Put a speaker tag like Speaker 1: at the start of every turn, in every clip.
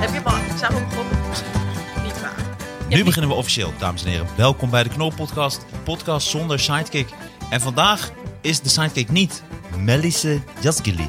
Speaker 1: Heb je hem al samen begonnen? Niet waar.
Speaker 2: Nu beginnen we officieel, dames en heren. Welkom bij de Knol-podcast, podcast zonder sidekick. En vandaag is de sidekick niet Melisse Jaskili.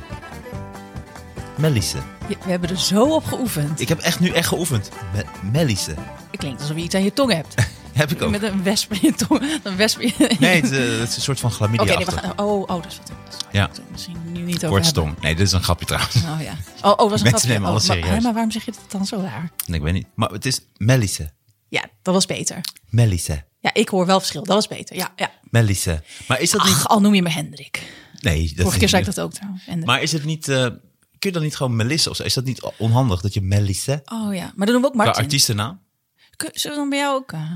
Speaker 2: Melisse.
Speaker 3: Je- We hebben er zo op geoefend.
Speaker 2: Ik heb echt nu echt geoefend. Me- Melisse.
Speaker 3: Het klinkt alsof je iets aan je tong hebt.
Speaker 2: Heb ik ook.
Speaker 3: Met een wesp in je tong. Een wesp in je...
Speaker 2: Nee, het, eh, het is een soort van
Speaker 3: Oké,
Speaker 2: chlamydia
Speaker 3: nee, we gaan... Oh, oh, dat is wat. dat is wat-
Speaker 2: Ja.
Speaker 3: Misschien nu niet over hebben.
Speaker 2: Kortstom. Nee, dit is een grapje trouwens.
Speaker 3: Oh ja. Oh, oh, dat was een
Speaker 2: Mensen
Speaker 3: grapje.
Speaker 2: nemen
Speaker 3: Oh,
Speaker 2: alles
Speaker 3: maar,
Speaker 2: serieus.
Speaker 3: hè, maar waarom zeg je dat dan zo raar?
Speaker 2: Nee, ik weet niet. Maar het is Melisse.
Speaker 3: Ja, dat was beter.
Speaker 2: Melisse.
Speaker 3: Ja, ik hoor wel verschil. Dat was beter. Ja, ja.
Speaker 2: Melisse. Maar is dat
Speaker 3: Ach, al noem je me Hendrik.
Speaker 2: niet... Nee, dat
Speaker 3: Ah, Vorige
Speaker 2: is
Speaker 3: keer zei
Speaker 2: niet-
Speaker 3: ik dat ook trouwens. Hendrik.
Speaker 2: Maar is het niet... eh, kun je dan niet gewoon Melisse of zo? Is dat niet onhandig dat je Melisse...
Speaker 3: Oh ja, maar dan doen we ook
Speaker 2: Qua
Speaker 3: Martin.
Speaker 2: artiestennaam?
Speaker 3: Kun- Zullen we dan bij jou ook... eh?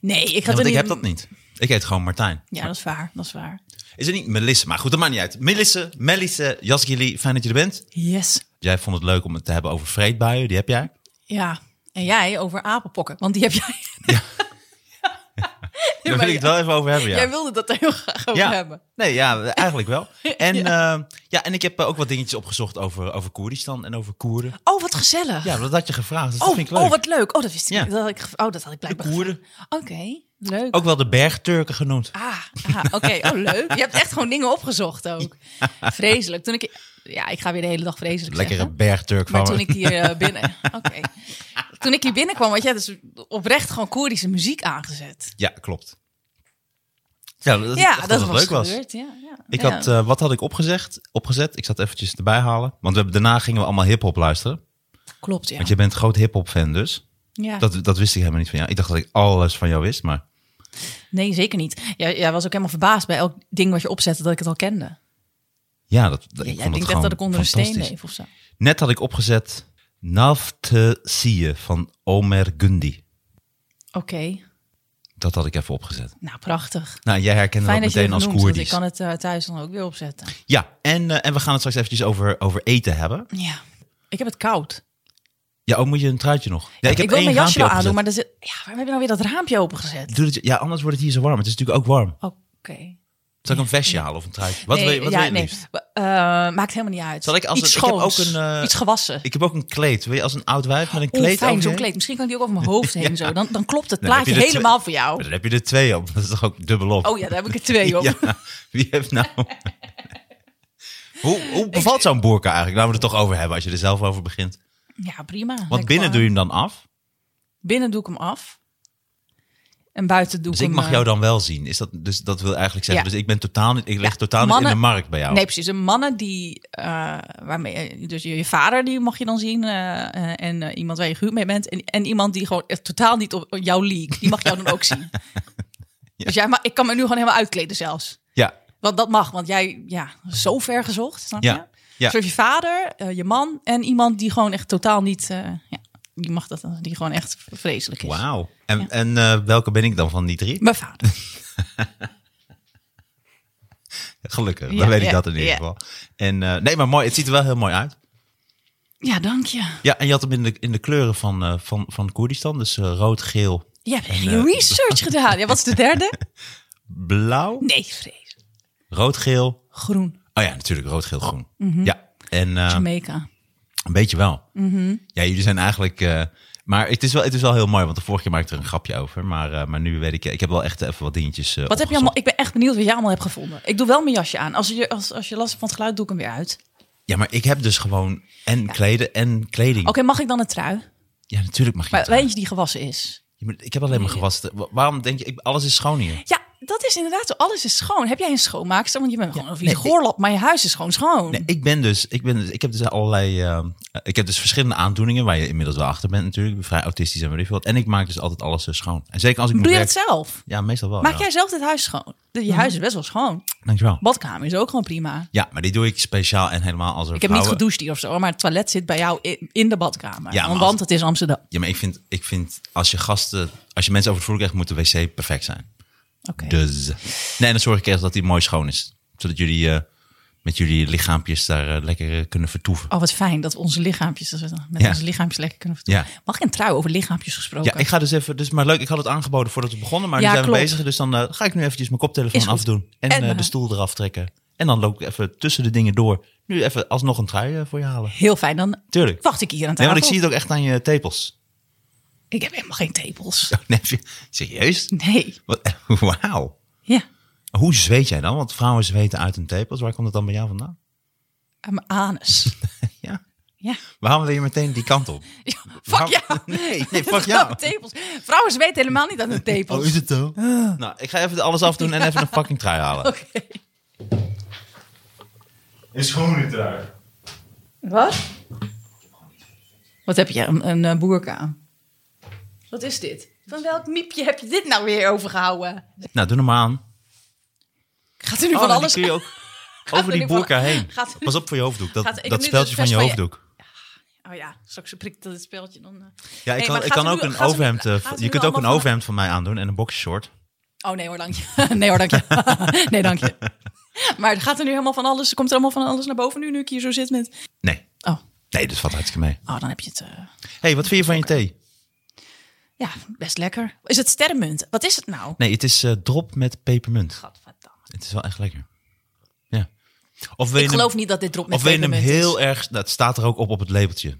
Speaker 3: Nee, ik ga
Speaker 2: Ja,
Speaker 3: het er
Speaker 2: want ik
Speaker 3: niet...
Speaker 2: heb dat niet. Ik heet gewoon Martijn.
Speaker 3: Ja, dat is waar. Dat is waar.
Speaker 2: Is het niet Melisse? Maar goed, dat maakt niet uit. Melisse, Melisse, Jasgili, fijn dat je er bent.
Speaker 3: Yes.
Speaker 2: Jij vond het leuk om het te hebben over vreedbuien, die heb jij.
Speaker 3: Ja, en jij over apenpokken, want die heb jij.
Speaker 2: Daar wil ik het wel even over hebben, ja.
Speaker 3: Jij wilde dat daar heel graag over
Speaker 2: ja.
Speaker 3: hebben.
Speaker 2: Nee, ja, eigenlijk wel. En, eh, ja, en ik heb eh, ook wat dingetjes opgezocht over, over Koerdistan en over Koerden.
Speaker 3: Oh, wat gezellig.
Speaker 2: Ja, dat had je gevraagd, dus dat
Speaker 3: oh,
Speaker 2: vind ik leuk.
Speaker 3: oh, wat leuk. Oh, dat wist ik.
Speaker 2: Ja.
Speaker 3: niet. Dat had ik ge- oh, dat had ik
Speaker 2: De
Speaker 3: blijkbaar.
Speaker 2: Koerden,
Speaker 3: Oké, leuk.
Speaker 2: ook wel de bergturken genoemd.
Speaker 3: Ah, ah, oké. Oh, leuk. Je hebt echt gewoon dingen opgezocht ook. Vreselijk. Toen ik, ja, ik ga weer de hele dag vreselijk
Speaker 2: Lekkere
Speaker 3: zeggen.
Speaker 2: bergturk van
Speaker 3: Maar
Speaker 2: me.
Speaker 3: toen ik hier eh, binnen... Oké. Toen ik hier binnenkwam, had jij dus oprecht gewoon Koerdische muziek aangezet.
Speaker 2: Ja, klopt. Ja, dat, ik
Speaker 3: ja,
Speaker 2: dacht
Speaker 3: dat,
Speaker 2: het
Speaker 3: was
Speaker 2: leuk was.
Speaker 3: gebeurd. Ja, ja.
Speaker 2: Ik
Speaker 3: Ja.
Speaker 2: had, eh, wat had ik opgezegd, opgezet? Ik zat eventjes erbij halen. Want we, hebben- daarna gingen we allemaal hip-hop luisteren.
Speaker 3: Klopt, ja.
Speaker 2: eh, Want je bent groot hip-hop fan, dus.
Speaker 3: ja.
Speaker 2: Dat, dat wist ik helemaal niet van jou. Ik dacht dat ik alles van jou wist, maar.
Speaker 3: Nee, zeker niet. Jij, jij was ook helemaal verbaasd bij elk ding wat je opzette dat ik het al kende.
Speaker 2: Ja, dat, dat,
Speaker 3: Ja, jij
Speaker 2: ik vond het
Speaker 3: denkt echt dat ik
Speaker 2: gewoon
Speaker 3: onder een steen
Speaker 2: fantastisch.
Speaker 3: leef of zo.
Speaker 2: Net had ik opgezet Naftesië van Omer Gundi.
Speaker 3: Oké,
Speaker 2: Dat had ik even opgezet.
Speaker 3: nou prachtig.
Speaker 2: Nou, jij herkende
Speaker 3: Fijn
Speaker 2: dat
Speaker 3: dat je het
Speaker 2: meteen
Speaker 3: noemt,
Speaker 2: als
Speaker 3: want ik
Speaker 2: Koerdisch.
Speaker 3: kan het eh, thuis dan ook weer opzetten.
Speaker 2: Ja, en, eh, en we gaan het straks eventjes over, over eten hebben.
Speaker 3: Ja, ik heb het koud.
Speaker 2: Ja, oh, moet je een truitje nog? Ja, ik heb
Speaker 3: wil
Speaker 2: één
Speaker 3: mijn jasje wel
Speaker 2: raampje
Speaker 3: aandoen,
Speaker 2: opgezet.
Speaker 3: maar er zit, ja, waarom heb je nou weer dat raampje opengezet?
Speaker 2: Doe dat, ja, anders wordt het hier zo warm. Het is natuurlijk ook warm.
Speaker 3: Oké.
Speaker 2: Zal ik een vestje halen of een truitje? Wat
Speaker 3: Nee,
Speaker 2: wil je, wat
Speaker 3: ja,
Speaker 2: wil je het
Speaker 3: nee.
Speaker 2: liefst?
Speaker 3: Eh, maakt helemaal niet uit.
Speaker 2: Zal ik als
Speaker 3: Iets
Speaker 2: een- ik heb ook
Speaker 3: schoons,
Speaker 2: een, eh,
Speaker 3: iets gewassen.
Speaker 2: Ik heb ook een kleed. Wil je als een oud wijf met een
Speaker 3: Oeh,
Speaker 2: kleed?
Speaker 3: fijn,
Speaker 2: over
Speaker 3: zo'n
Speaker 2: je heen?
Speaker 3: kleed. Misschien kan die ook over mijn hoofd heen zo. Dan, dan klopt het
Speaker 2: Dan heb
Speaker 3: plaatje
Speaker 2: je er twee-
Speaker 3: helemaal voor
Speaker 2: Maar
Speaker 3: jou.
Speaker 2: dan heb je er twee op. Dat is toch ook dubbel op?
Speaker 3: Oh ja, daar heb ik er twee op.
Speaker 2: Ja, wie heeft nou... hoe, hoe bevalt zo'n boerka eigenlijk? Laten we het toch over hebben als je er zelf over begint. Want
Speaker 3: Ja, prima.
Speaker 2: binnen doe je hem dan af.
Speaker 3: Binnen doe ik hem af. En buiten doe
Speaker 2: Dus
Speaker 3: ik
Speaker 2: ik
Speaker 3: hem...
Speaker 2: mag
Speaker 3: eh,
Speaker 2: jou dan wel zien. Is dat, dus dat wil eigenlijk zeggen,
Speaker 3: Ja.
Speaker 2: dus ik, ben totaal niet, ik lig
Speaker 3: Ja,
Speaker 2: totaal niet
Speaker 3: mannen-
Speaker 2: in de markt bij jou.
Speaker 3: Nee, precies. De mannen die, eh, waarmee, dus je, je vader die mag je dan zien eh, eh, en eh, iemand waar je gehuwd mee bent en, en iemand die gewoon echt totaal niet op op jouw league, die mag jou dan ook zien. Dus jij, maar ik kan me nu gewoon helemaal uitkleden zelfs.
Speaker 2: Ja,
Speaker 3: Want dat mag, want jij, ja, zo ver gezocht, snap
Speaker 2: Ja,
Speaker 3: je?
Speaker 2: ja.
Speaker 3: Dus je vader, eh, je man en iemand die gewoon echt totaal niet, eh, ja, die mag dat, dan- die gewoon echt vreselijk is.
Speaker 2: wauw. En, en eh, welke ben ik dan van die drie?
Speaker 3: Mijn vader.
Speaker 2: Gelukkig,
Speaker 3: Ja,
Speaker 2: dan weet ik
Speaker 3: ja,
Speaker 2: dat in ieder
Speaker 3: ja.
Speaker 2: geval. En, eh, nee, maar mooi. Het ziet er wel heel mooi uit.
Speaker 3: Ja, dank je.
Speaker 2: Ja, en je had hem in de, in de kleuren van, eh, van, van Koerdistan. Dus eh, rood, geel,
Speaker 3: Je hebt echt
Speaker 2: eh,
Speaker 3: je research gedaan. Ja, wat is de derde?
Speaker 2: blauw.
Speaker 3: Nee, vrees.
Speaker 2: Rood, geel,
Speaker 3: Groen,
Speaker 2: Oh ja, natuurlijk rood, geel, groen.
Speaker 3: Mhm.
Speaker 2: Ja, en eh,
Speaker 3: Jamaica.
Speaker 2: een beetje wel.
Speaker 3: Mhm.
Speaker 2: Ja, jullie zijn eigenlijk... eh, maar het is, wel, het is wel heel mooi, want de vorige keer maakte ik er een grapje over. Maar, eh, maar nu weet ik... Ik heb wel echt even wat dingetjes eh,
Speaker 3: Wat heb je
Speaker 2: opgezocht.
Speaker 3: allemaal? Ik ben echt benieuwd wat jij allemaal hebt gevonden. Ik doe wel mijn jasje aan. Als je, als, als je last hebt van het geluid, doe ik hem weer uit. Oké,
Speaker 2: Ja, maar ik heb dus gewoon en kleden en kleding.
Speaker 3: mag ik dan een trui?
Speaker 2: Ja, natuurlijk mag je
Speaker 3: Maar
Speaker 2: het aan.
Speaker 3: eentje die gewassen is.
Speaker 2: Je moet- Ik heb alleen maar gewassen. Wa- Waarom denk je... ik- alles is schoon hier.
Speaker 3: Ja, dat is inderdaad zo. Alles is schoon. Heb jij een schoonmaakster? Want je bent gewoon een
Speaker 2: nee,
Speaker 3: vieze goorlap, maar je huis is gewoon schoon.
Speaker 2: Nee, ik ben dus, ik ben, dus- ik heb dus allerlei, eh, ik heb dus verschillende aandoeningen waar je inmiddels wel achter bent natuurlijk. Ik ben vrij autistisch en weet ik veel wat. En ik maak dus altijd alles eh, schoon. En zeker als ik
Speaker 3: Doe je dat
Speaker 2: werk-
Speaker 3: zelf?
Speaker 2: Ja, meestal wel.
Speaker 3: Maak
Speaker 2: ja. Mhm.
Speaker 3: jij zelf het huis schoon? Je huis is best wel schoon.
Speaker 2: Dankjewel.
Speaker 3: Badkamer is ook gewoon prima.
Speaker 2: Ja, maar die doe ik speciaal en helemaal als er
Speaker 3: Ik heb niet
Speaker 2: vrouwen-
Speaker 3: gedoucht hier of zo, maar het toilet zit bij jou in, in de badkamer.
Speaker 2: Ja, maar
Speaker 3: want,
Speaker 2: als-
Speaker 3: want het is Amsterdam.
Speaker 2: Ja, maar ik vind, ik vind als je gasten, als je mensen over het vloer krijgt, moet de wc perfect zijn.
Speaker 3: Oké.
Speaker 2: Dus. Nee, en dan zorg ik echt dat die mooi schoon is. Zodat jullie eh, met jullie lichaampjes daar eh, lekker eh, kunnen vertoeven.
Speaker 3: Oh, wat fijn dat onze lichaampjes, dat we dan met
Speaker 2: Ja.
Speaker 3: onze lichaampjes lekker kunnen vertoeven.
Speaker 2: Ja.
Speaker 3: Mag ik een trui over lichaampjes gesproken?
Speaker 2: Ja, ik ga dus even. Dus, maar leuk, ik had het aangeboden voordat we begonnen. Maar
Speaker 3: Ja,
Speaker 2: nu zijn
Speaker 3: klopt.
Speaker 2: we bezig. Dus dan eh, ga ik nu eventjes mijn koptelefoon
Speaker 3: Is goed.
Speaker 2: afdoen. En,
Speaker 3: En,
Speaker 2: eh,
Speaker 3: eh,
Speaker 2: de stoel eraf trekken. En dan loop ik even tussen de dingen door. Nu even alsnog een trui eh, voor je halen.
Speaker 3: Heel fijn, dan
Speaker 2: Tuurlijk.
Speaker 3: wacht ik hier aan
Speaker 2: Nee,
Speaker 3: tafel.
Speaker 2: want ik zie het ook echt aan je tepels. Oh,
Speaker 3: Ik heb helemaal geen tepels.
Speaker 2: Nee, serieus?
Speaker 3: Nee,
Speaker 2: Wat- Wauw.
Speaker 3: ja.
Speaker 2: Hoe zweet jij dan? Want vrouwen zweten uit hun tepels. Waar komt dat dan bij jou vandaan?
Speaker 3: Aan mijn anus.
Speaker 2: Ja.
Speaker 3: Ja.
Speaker 2: Waarom wil je meteen die kant op?
Speaker 3: Ja, Fuck
Speaker 2: Waarom-
Speaker 3: jou.
Speaker 2: Nou, Nee, nee, fuck
Speaker 3: Vrouwen
Speaker 2: jou.
Speaker 3: tepels. Vrouwen weten helemaal niet aan hun tepels.
Speaker 2: Oh, is het zo? Nou, ik ga even alles afdoen en even een fucking trui halen.
Speaker 3: Oké.
Speaker 4: Een schone trui.
Speaker 3: Wat? Wat heb je? Een, een eh, boerka aan. Wat is dit? Van welk miepje heb je dit nou weer overgehouden?
Speaker 2: Nou, doe hem maar aan.
Speaker 3: Gaat er nu
Speaker 2: Oh,
Speaker 3: van
Speaker 2: en
Speaker 3: alles...
Speaker 2: dan kun je ook over die
Speaker 3: nu van-
Speaker 2: boerka heen.
Speaker 3: gaat er nu-
Speaker 2: Pas op voor je hoofddoek. Dat,
Speaker 3: gaat er- ik
Speaker 2: dat
Speaker 3: nu dus
Speaker 2: speeltje van je
Speaker 3: best van je-
Speaker 2: hoofddoek.
Speaker 3: Oh ja, straks prikt dat het speeltje dan... eh.
Speaker 2: Ja, ik
Speaker 3: Nee,
Speaker 2: kan,
Speaker 3: maar
Speaker 2: ik
Speaker 3: gaat
Speaker 2: kan
Speaker 3: er
Speaker 2: ook
Speaker 3: nu-
Speaker 2: een
Speaker 3: gaat er nu-
Speaker 2: overhemd... eh,
Speaker 3: gaat
Speaker 2: v-
Speaker 3: er
Speaker 2: je
Speaker 3: nu
Speaker 2: kunt ook een
Speaker 3: allemaal van-
Speaker 2: overhemd van mij aandoen en een boxershort.
Speaker 3: Oh nee hoor, dank je. Nee hoor, dank je. Nee, dank je. Maar het gaat er nu helemaal van alles... Komt er allemaal van alles naar boven nu, nu ik hier zo zit met...
Speaker 2: Nee,
Speaker 3: Oh,
Speaker 2: nee, dat valt hartstikke mee.
Speaker 3: oh dan heb je het... eh,
Speaker 2: hey, wat vind je van je thee?
Speaker 3: ja, best lekker. Is het sterrenmunt? Wat is het nou?
Speaker 2: Nee, het is eh, drop met pepermunt.
Speaker 3: Gadverdamme.
Speaker 2: Het is wel echt lekker. Ja. Of wil je
Speaker 3: Ik
Speaker 2: hem,
Speaker 3: geloof niet dat dit drop met
Speaker 2: of wil je hem
Speaker 3: pepermunt dus- is.
Speaker 2: heel erg... Dat staat er ook op op het labeltje.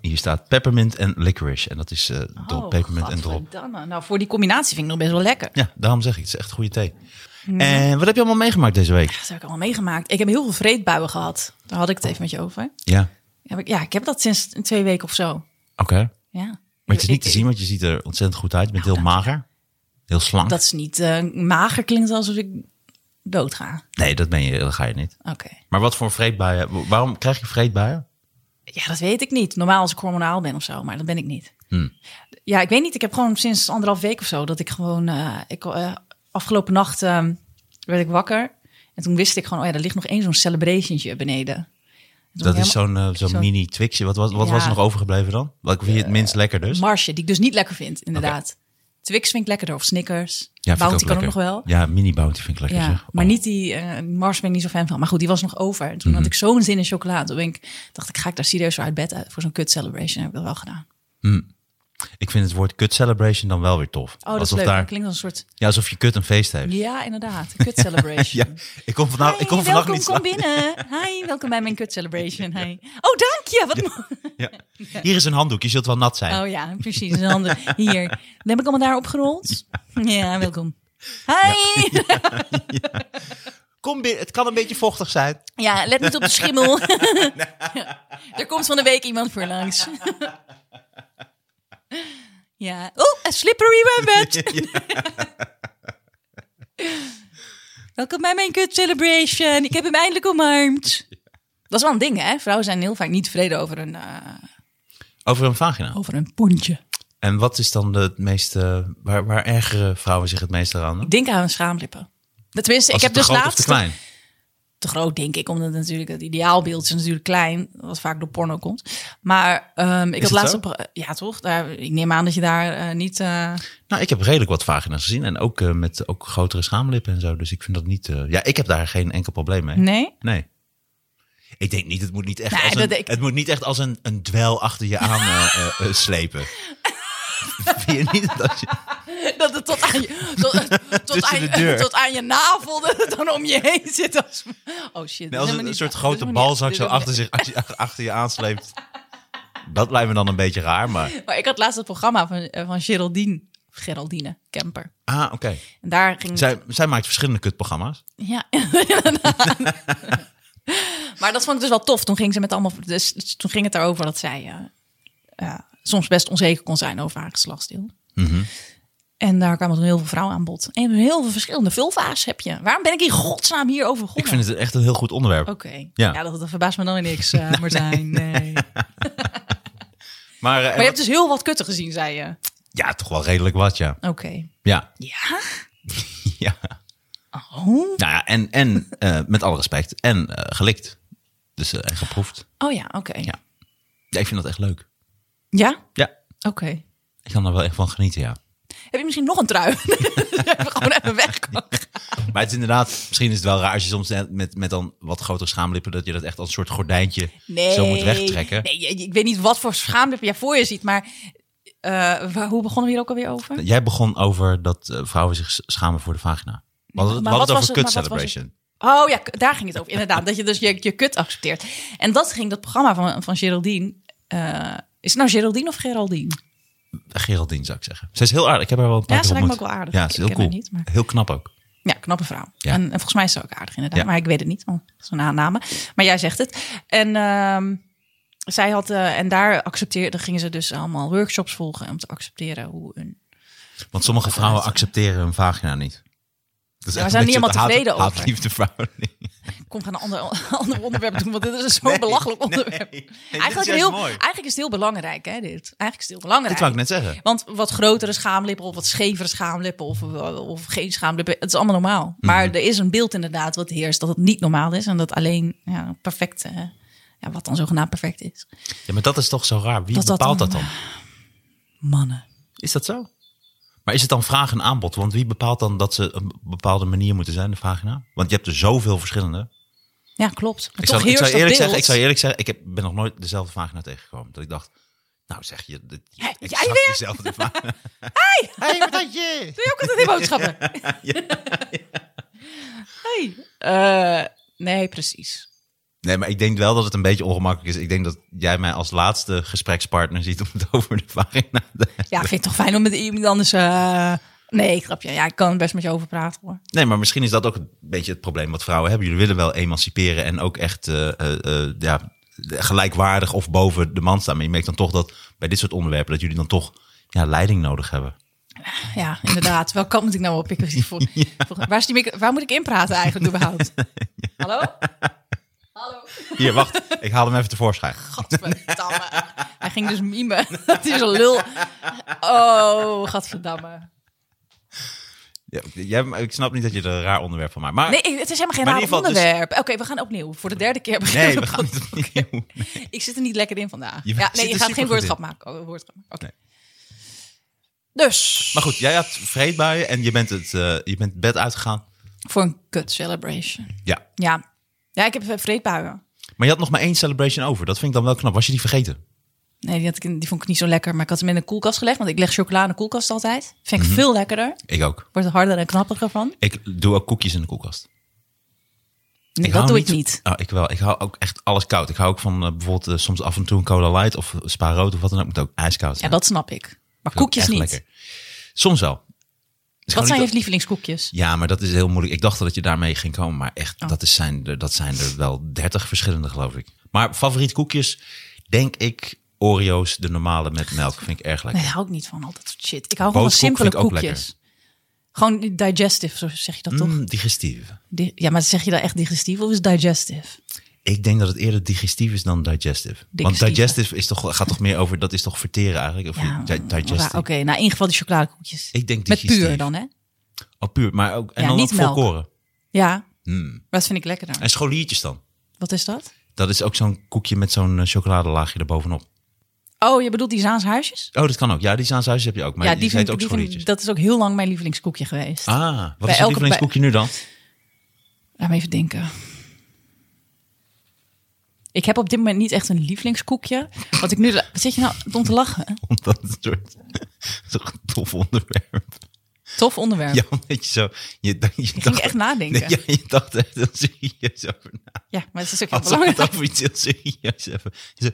Speaker 2: Hier staat peppermint en licorice. En dat is eh drop,
Speaker 3: Oh,
Speaker 2: pepermunt en drop.
Speaker 3: gadverdamme. Nou, voor die combinatie vind ik nog best wel lekker.
Speaker 2: Ja, daarom zeg ik, het is echt goede thee.
Speaker 3: Mm.
Speaker 2: En wat heb je allemaal meegemaakt deze week?
Speaker 3: Dat heb ik allemaal meegemaakt. Ik heb heel veel vreedbuien gehad. Daar had ik het even met je over.
Speaker 2: Ja,
Speaker 3: Heb ik, ja, ik heb dat sinds twee weken of zo.
Speaker 2: oké.
Speaker 3: Ja.
Speaker 2: Maar het is
Speaker 3: Ik-
Speaker 2: niet te
Speaker 3: ik- Nou,
Speaker 2: zien, want je ziet er ontzettend goed uit. Je bent heel mager, heel slank.
Speaker 3: Dat is niet eh, mager klinkt alsof ik doodga.
Speaker 2: Nee, dat ben je, dat ga je niet.
Speaker 3: Oké.
Speaker 2: Maar wat voor vreedbuien? Waarom krijg je vreedbuien?
Speaker 3: Ja, dat weet ik niet. Normaal als ik hormonaal ben of zo, maar dat ben ik niet.
Speaker 2: Hmm.
Speaker 3: Ja, ik weet niet. Ik heb gewoon sinds anderhalf week of zo dat ik gewoon... eh, ik, eh, afgelopen nacht eh, werd ik wakker. En toen wist ik gewoon, oh ja, er ligt nog één zo'n celebrationje beneden. En toen
Speaker 2: Dat
Speaker 3: helemaal-
Speaker 2: is zo'n eh, zo'n
Speaker 3: zo'n-
Speaker 2: mini twixje. Wat, was wat
Speaker 3: Ja. Eh,
Speaker 2: was er nog overgebleven dan? Wat vind je het minst lekker dus?
Speaker 3: Marsje, die ik dus niet lekker vind, inderdaad. Twix vind ik lekkerder, of Snickers.
Speaker 2: vind ik
Speaker 3: Bounty kan
Speaker 2: lekker.
Speaker 3: ook nog wel.
Speaker 2: Ja, mini bounty vind ik lekker
Speaker 3: Ja,
Speaker 2: zeg.
Speaker 3: maar
Speaker 2: Oh. Mhm.
Speaker 3: niet die eh, Mars ben ik niet zo fan van. Maar goed, die was nog over. En toen had ik zo'n zin in chocola. Toen ben ik, dacht ik, ga ik daar serieus voor uit bed uit voor zo'n kut celebration? Heb ik dat wel gedaan.
Speaker 2: Ik vind het woord kut celebration dan wel weer tof.
Speaker 3: Oh, dat
Speaker 2: alsof
Speaker 3: is leuk.
Speaker 2: Daar,
Speaker 3: Dat klinkt als een soort.
Speaker 2: ja, alsof je kut een feest heeft.
Speaker 3: Ja, inderdaad. Een kut celebration.
Speaker 2: Ja, ik kom vanaf, ik kom
Speaker 3: Hi,
Speaker 2: vannacht
Speaker 3: welkom,
Speaker 2: niet
Speaker 3: kom
Speaker 2: slapen.
Speaker 3: binnen. Hi, welkom bij mijn kut celebration. Hi. Oh, dank je. Wat mooi.
Speaker 2: Ja. Hier is een handdoek, je zult wel nat zijn.
Speaker 3: Oh ja, precies. Een ander. Hier. Dan heb ik allemaal daar opgerold. Ja, welkom. Hi.
Speaker 2: Kom binnen, het kan een beetje vochtig zijn.
Speaker 3: Ja, let niet op de schimmel. er komt van de week iemand voor langs. ja. Oh, a slippery rabbit. Welkom bij mijn kut celebration. Ik heb hem eindelijk omarmd. Dat is wel een ding, hè? Vrouwen zijn heel vaak niet tevreden over een, eh,
Speaker 2: Over een vagina.
Speaker 3: over een poentje.
Speaker 2: En wat is dan de- het meeste, waar, waar ergeren vrouwen zich het meest aan?
Speaker 3: Ik denk aan een schaamlippen. Tenminste,
Speaker 2: Als
Speaker 3: ik heb
Speaker 2: het
Speaker 3: dus
Speaker 2: te groot of
Speaker 3: laatst...
Speaker 2: te klein?
Speaker 3: te groot, denk ik. Omdat natuurlijk het ideaalbeeld is natuurlijk klein. Wat vaak door porno komt. Maar ehm, ik had
Speaker 2: het
Speaker 3: laatst
Speaker 2: zo?
Speaker 3: op... Ja, toch? Daar, ik neem aan dat je daar eh, niet... eh,
Speaker 2: Nou, ik heb redelijk wat vagina's gezien. En ook eh, met ook grotere schaamlippen en zo. Dus ik vind dat niet... eh, ja, ik heb daar geen enkel probleem mee.
Speaker 3: nee?
Speaker 2: Nee. Ik denk niet, het moet niet echt
Speaker 3: Nee,
Speaker 2: als, een,
Speaker 3: dat ik-
Speaker 2: het moet niet echt als een, een dwel achter je aan eh, eh, eh, slepen. Vind je niet dat als je...
Speaker 3: Dat het tot aan je... Tot, tot
Speaker 2: Tussen
Speaker 3: aan,
Speaker 2: de
Speaker 3: je-
Speaker 2: deur.
Speaker 3: tot aan je navel dat het dan om je heen zit. Als, oh shit.
Speaker 2: Nee,
Speaker 3: dit is
Speaker 2: als
Speaker 3: helemaal
Speaker 2: een,
Speaker 3: niet-
Speaker 2: soort
Speaker 3: dit is
Speaker 2: grote
Speaker 3: helemaal niet-
Speaker 2: balzak
Speaker 3: dit
Speaker 2: zo
Speaker 3: is helemaal
Speaker 2: achter, zich, als je- achter je aansleept. Dat lijkt me dan een beetje raar, maar...
Speaker 3: niet- Maar ik had laatst het programma van, eh, van Geraldine... Geraldine Kemper.
Speaker 2: Ah, oké.
Speaker 3: En daar ging...
Speaker 2: Zij, zij maakt verschillende kutprogramma's.
Speaker 3: Ja, inderdaad. maar dat vond ik dus wel tof. Toen ging, ze met allemaal, dus, toen ging het daarover dat zij eh, eh, soms best onzeker kon zijn over haar geslachtsdeel. En daar kwamen toen heel veel vrouwen aan bod. En heel veel verschillende vulva's heb je. Waarom ben ik in godsnaam hierover
Speaker 2: Ik
Speaker 3: begonnen?
Speaker 2: vind het echt een heel goed onderwerp.
Speaker 3: Oké.
Speaker 2: Ja.
Speaker 3: Ja. dat, dat verbaast me dan weer niks, eh, Martijn. Nee, Maar
Speaker 2: Maar, eh,
Speaker 3: je hebt dus heel wat kutten gezien, zei je.
Speaker 2: ja, toch wel redelijk wat, ja.
Speaker 3: Oké.
Speaker 2: Ja,
Speaker 3: Ja?
Speaker 2: ja.
Speaker 3: Oh,
Speaker 2: Nou ja, en, en eh, met alle respect. En eh, gelikt. Dus eh, en geproefd.
Speaker 3: oh ja, oké.
Speaker 2: Ja.
Speaker 3: Ja?
Speaker 2: Ja, ik vind dat echt leuk. Ja,
Speaker 3: Oké.
Speaker 2: ik kan er wel echt van genieten, ja.
Speaker 3: Heb je misschien nog een trui? Dat we gewoon even weg. kan.
Speaker 2: Maar het is inderdaad, misschien is het wel raar als je soms net met, met dan wat grotere schaamlippen, dat je dat echt als een soort gordijntje zo moet wegtrekken.
Speaker 3: Nee, je- je- ik weet niet wat voor schaamlip je voor je ziet, maar eh, waar, hoe begonnen we hier ook alweer over?
Speaker 2: Jij begon over dat eh, vrouwen zich s- schamen voor de vagina. We hadden, het- we
Speaker 3: maar
Speaker 2: hadden
Speaker 3: wat
Speaker 2: het
Speaker 3: was het-
Speaker 2: over cut
Speaker 3: maar wat was het?
Speaker 2: celebration.
Speaker 3: Oh ja, k- daar ging het over. Inderdaad, dat je dus je, je kut accepteert. En dat ging dat programma van, van Geraldine. eh, is het nou Geraldine of Geraldine?
Speaker 2: Eh, Geraldine zou ik zeggen. Ze is heel aardig. Ik heb haar wel een paar
Speaker 3: Ja,
Speaker 2: keer
Speaker 3: ze lijkt me ook
Speaker 2: ontmoet.
Speaker 3: wel aardig.
Speaker 2: Ja,
Speaker 3: Ik-
Speaker 2: ze is
Speaker 3: ik
Speaker 2: heel
Speaker 3: ken haar
Speaker 2: cool.
Speaker 3: niet, maar-
Speaker 2: Heel knap ook.
Speaker 3: Ja, knappe vrouw.
Speaker 2: Ja.
Speaker 3: En, en volgens mij is ze ook aardig inderdaad.
Speaker 2: Ja.
Speaker 3: Maar ik weet het niet, want dat is een aanname. Maar jij zegt het. En ehm, zij had, eh, en daar accepteerde, gingen ze dus allemaal workshops volgen om te accepteren hoe een...
Speaker 2: Want sommige vrouwen accepteren hun vagina niet. Dat is
Speaker 3: Ja,
Speaker 2: echt
Speaker 3: we zijn
Speaker 2: een
Speaker 3: niet
Speaker 2: beetje
Speaker 3: helemaal
Speaker 2: het
Speaker 3: tevreden
Speaker 2: haat-
Speaker 3: over.
Speaker 2: haatliefde verhouding.
Speaker 3: Ik kom gaan een ander, ander onderwerp doen, want dit is zo'n belachelijk onderwerp.
Speaker 2: Nee, dit is
Speaker 3: eigenlijk,
Speaker 2: juist
Speaker 3: heel,
Speaker 2: mooi.
Speaker 3: eigenlijk is het heel belangrijk, hè, dit. Eigenlijk is het heel belangrijk.
Speaker 2: Dit wou ik net zeggen.
Speaker 3: Want wat grotere schaamlippen of wat schevere schaamlippen of, of geen schaamlippen, het is allemaal normaal.
Speaker 2: Mhm.
Speaker 3: Maar er is een beeld inderdaad wat heerst dat het niet normaal is en dat alleen ja, perfect, eh, ja, wat dan zogenaamd perfect is.
Speaker 2: Ja, maar dat is toch zo raar. Wie
Speaker 3: Dat dat
Speaker 2: bepaalt dat
Speaker 3: dan-
Speaker 2: dan?
Speaker 3: Mannen.
Speaker 2: Is dat zo? Maar is het dan vraag en aanbod? Want wie bepaalt dan dat ze een bepaalde manier moeten zijn, de vagina? Want je hebt er zoveel verschillende.
Speaker 3: Ja, klopt. Maar
Speaker 2: Ik
Speaker 3: toch
Speaker 2: zou, ik, zou
Speaker 3: heerst
Speaker 2: eerlijk
Speaker 3: dat
Speaker 2: zeggen,
Speaker 3: beeld.
Speaker 2: ik zou eerlijk zeggen, ik heb, ben nog nooit dezelfde vagina tegengekomen. Dat ik dacht, nou zeg je, dit,
Speaker 3: Hè, jij
Speaker 2: exact
Speaker 3: weer?
Speaker 2: dezelfde vagina.
Speaker 3: Doe je ook altijd in boodschappen? Hey. Eh, nee, precies.
Speaker 2: Nee, maar ik denk wel dat het een beetje ongemakkelijk is. Ik denk dat jij mij als laatste gesprekspartner ziet om het over de vagina te
Speaker 3: Ja, ik vind het toch fijn om met iemand anders... eh, Nee, ik grapje. Ja, ik kan best met je over praten hoor.
Speaker 2: Nee, maar misschien is dat ook een beetje het probleem wat vrouwen hebben. Jullie willen wel emanciperen en ook echt eh, eh, eh, ja, gelijkwaardig of boven de man staan. Maar je merkt dan toch dat bij dit soort onderwerpen dat jullie dan toch ja, leiding nodig hebben.
Speaker 3: Ja, inderdaad. Welk kant moet ik nou op? Ik was niet voor, voor- waar, is die micro- waar moet ik in praten eigenlijk überhaupt? Hallo? Hallo?
Speaker 2: Hier, wacht. ik haal hem even tevoorschijn.
Speaker 3: Gadverdamme. Hij ging dus mimen. Het is een lul. Oh, gadverdamme.
Speaker 2: Ja, jij, ik snap niet dat je er een raar onderwerp van maakt. Maar
Speaker 3: Nee, ik- het is helemaal geen
Speaker 2: Ah. Maar in
Speaker 3: raar
Speaker 2: ieder geval dus-
Speaker 3: onderwerp. Oké, we gaan opnieuw. Voor de derde keer beginnen
Speaker 2: nee, we
Speaker 3: we
Speaker 2: gaan niet opnieuw.
Speaker 3: Ik zit er niet lekker in vandaag.
Speaker 2: Je
Speaker 3: ja,
Speaker 2: zit
Speaker 3: nee, je
Speaker 2: er
Speaker 3: gaat geen
Speaker 2: supergoed
Speaker 3: woordgrap
Speaker 2: in.
Speaker 3: maken. Oh, woordgrap maken. Oké.
Speaker 2: Nee.
Speaker 3: Dus,
Speaker 2: Maar goed, jij had vreedbuien en je bent het eh, je bent het bed uitgegaan.
Speaker 3: voor een kut celebration.
Speaker 2: Ja.
Speaker 3: Ja. Ja, ik heb eh, vreedbuien.
Speaker 2: Maar je had nog maar één celebration over. Dat vind ik dan wel knap. Was je die vergeten?
Speaker 3: Nee, die, had ik, in- die vond ik niet zo lekker. Maar ik had hem in de koelkast gelegd. Want ik leg chocola in de koelkast altijd. Vind ik veel lekkerder.
Speaker 2: Ik ook.
Speaker 3: Wordt er harder en knapperiger van.
Speaker 2: Mhm. Ik doe ook koekjes in de koelkast.
Speaker 3: Nee,
Speaker 2: hou
Speaker 3: dat doe ik niet.
Speaker 2: Oh, ik wel. Ik hou ook echt alles koud. Ik hou ook van eh, bijvoorbeeld eh, soms af en toe een cola light of spa rood of wat dan ook. Moet ook ijskoud
Speaker 3: Ja,
Speaker 2: zijn.
Speaker 3: dat snap ik. Maar
Speaker 2: Vind ik
Speaker 3: koekjes
Speaker 2: echt
Speaker 3: niet.
Speaker 2: lekker. Soms wel. Is
Speaker 3: Wat
Speaker 2: gewoon
Speaker 3: zijn
Speaker 2: niet
Speaker 3: je lievelingskoekjes?
Speaker 2: Ja, maar dat is heel moeilijk. Ik dacht dat je daarmee ging komen, maar echt,
Speaker 3: Oh.
Speaker 2: dat, is zijn er, dat zijn er wel dertig verschillende, geloof ik. Maar favoriet koekjes, denk ik, Oreo's, de normale met melk, vind ik erg lekker.
Speaker 3: Nee, daar hou ik niet van. Al dat soort shit. Ik hou gewoon van
Speaker 2: Boterkoek
Speaker 3: simpele
Speaker 2: vind ik ook
Speaker 3: koekjes. Gewoon die digestive, zo zeg je dat toch?
Speaker 2: Mm, digestieve.
Speaker 3: Di- Ja, maar zeg je dat echt digestief of is digestief?
Speaker 2: Ik denk dat het eerder digestief is dan digestive. Want
Speaker 3: Digestieve.
Speaker 2: digestive is toch, gaat toch meer over, dat is toch verteren eigenlijk? Of
Speaker 3: Ja,
Speaker 2: di-
Speaker 3: waar-
Speaker 2: digestive.
Speaker 3: Oké, nou in ieder geval die chocoladekoekjes.
Speaker 2: Ik denk
Speaker 3: Met
Speaker 2: digestief.
Speaker 3: puur dan, hè?
Speaker 2: Oh, puur, maar ook, en
Speaker 3: Ja,
Speaker 2: dan
Speaker 3: niet
Speaker 2: ook
Speaker 3: melk.
Speaker 2: volkoren. Hmm.
Speaker 3: Ja. Wat vind ik lekkerder?
Speaker 2: En scholiertjes dan.
Speaker 3: Wat is dat?
Speaker 2: Dat is ook zo'n koekje met zo'n eh, chocoladelaagje erbovenop.
Speaker 3: Oh, je bedoelt die Zaanshuisjes?
Speaker 2: Oh, dat kan ook. Ja, die Zaanshuis heb je ook. Maar
Speaker 3: Ja,
Speaker 2: die,
Speaker 3: die
Speaker 2: heet
Speaker 3: vind,
Speaker 2: ook
Speaker 3: die
Speaker 2: scholiertjes.
Speaker 3: vind, dat is ook heel lang mijn lievelingskoekje geweest.
Speaker 2: Ah, wat is je
Speaker 3: elke-
Speaker 2: lievelingskoekje nu dan?
Speaker 3: Laat me even denken. Ik heb op dit moment niet echt een lievelingskoekje. Wat ik nu. Wat zit je nou om te lachen?
Speaker 2: Omdat het soort... toch een tof onderwerp.
Speaker 3: Tof onderwerp.
Speaker 2: Ja, omdat je zo... Je, dacht- je
Speaker 3: ging echt nadenken.
Speaker 2: Nee, ja, je dacht er heel serieus over na.
Speaker 3: Ja, maar het is ook heel
Speaker 2: Als ik het
Speaker 3: belangrijk.
Speaker 2: over iets heel serieus hebben. Je zei,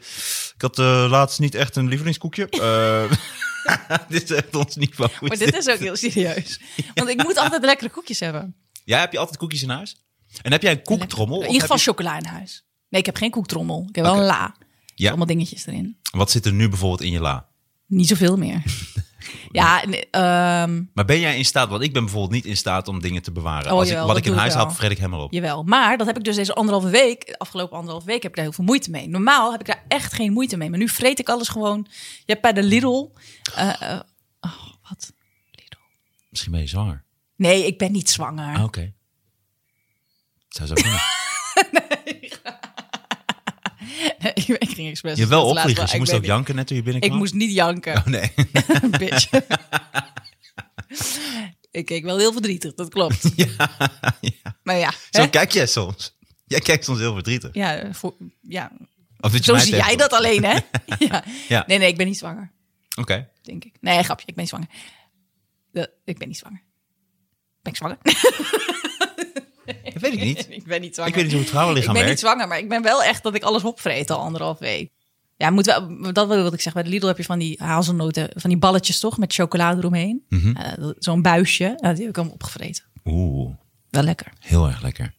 Speaker 2: Ik had eh, laatst niet echt een lievelingskoekje. Eh, dit is echt ons niveau.
Speaker 3: Maar dit is ook heel serieus. Want ik moet altijd lekkere koekjes hebben.
Speaker 2: Ja, heb je altijd koekjes in huis? En heb jij een koektrommel?
Speaker 3: In
Speaker 2: Of
Speaker 3: ieder geval
Speaker 2: heb
Speaker 3: chocola in huis. Nee, ik heb geen koektrommel. Ik heb wel een la.
Speaker 2: Ja.
Speaker 3: Allemaal dingetjes erin.
Speaker 2: je- Wat zit er nu bijvoorbeeld in je la?
Speaker 3: Niet zoveel meer. Ja, en, ehm,
Speaker 2: Maar ben jij in staat, want ik ben bijvoorbeeld niet in staat om dingen te bewaren.
Speaker 3: Oh,
Speaker 2: Als ik,
Speaker 3: jawel,
Speaker 2: wat
Speaker 3: dat
Speaker 2: ik in
Speaker 3: doe ik
Speaker 2: huis haal,
Speaker 3: wel.
Speaker 2: vreet ik helemaal op.
Speaker 3: Jawel, maar dat heb ik dus deze anderhalve week, afgelopen anderhalve week, heb ik daar heel veel moeite mee. Normaal heb ik daar echt geen moeite mee, maar nu vreet ik alles gewoon. Je hebt bij de Lidl. eh, eh, oh, wat? Lidl.
Speaker 2: Misschien ben je zwanger.
Speaker 3: Nee, ik ben niet zwanger.
Speaker 2: Ah, oké. Zou zo kunnen.
Speaker 3: ik ging expres.
Speaker 2: Je hebt wel
Speaker 3: dat laatste wel.
Speaker 2: opvliegers. Je
Speaker 3: Ik
Speaker 2: moest
Speaker 3: weet
Speaker 2: ook
Speaker 3: niet.
Speaker 2: janken net toen je
Speaker 3: Ik
Speaker 2: binnenkwam.
Speaker 3: moest niet janken,
Speaker 2: Oh nee.
Speaker 3: bitch. ik keek wel heel verdrietig, dat klopt.
Speaker 2: ja.
Speaker 3: Maar ja,
Speaker 2: Zo
Speaker 3: hè?
Speaker 2: kijk jij soms. Jij kijkt soms heel verdrietig.
Speaker 3: ja, voor, ja.
Speaker 2: Of dat je
Speaker 3: zo
Speaker 2: mij
Speaker 3: zie jij
Speaker 2: tegenkomt.
Speaker 3: dat alleen, hè? ja.
Speaker 2: Ja.
Speaker 3: Nee, nee, ik ben niet zwanger,
Speaker 2: Oké.
Speaker 3: denk ik. Nee, grapje, ik ben niet zwanger. De- ik ben niet zwanger. Ben ik zwanger?
Speaker 2: Dat weet ik niet.
Speaker 3: ik ben niet zwanger.
Speaker 2: Ik weet niet hoe het vrouwenlichaam
Speaker 3: Ik ben niet
Speaker 2: werkt.
Speaker 3: zwanger, maar ik ben wel echt dat ik alles opvreet al anderhalf week. Ja, moet wel, dat wil ik zeggen. Bij de Lidl heb je van die hazelnoten, van die balletjes toch, met chocolade eromheen.
Speaker 2: Mhm.
Speaker 3: Eh, dat- Zo'n buisje, nou, die heb ik allemaal opgevreten.
Speaker 2: Oeh,
Speaker 3: Wel lekker.
Speaker 2: heel erg lekker.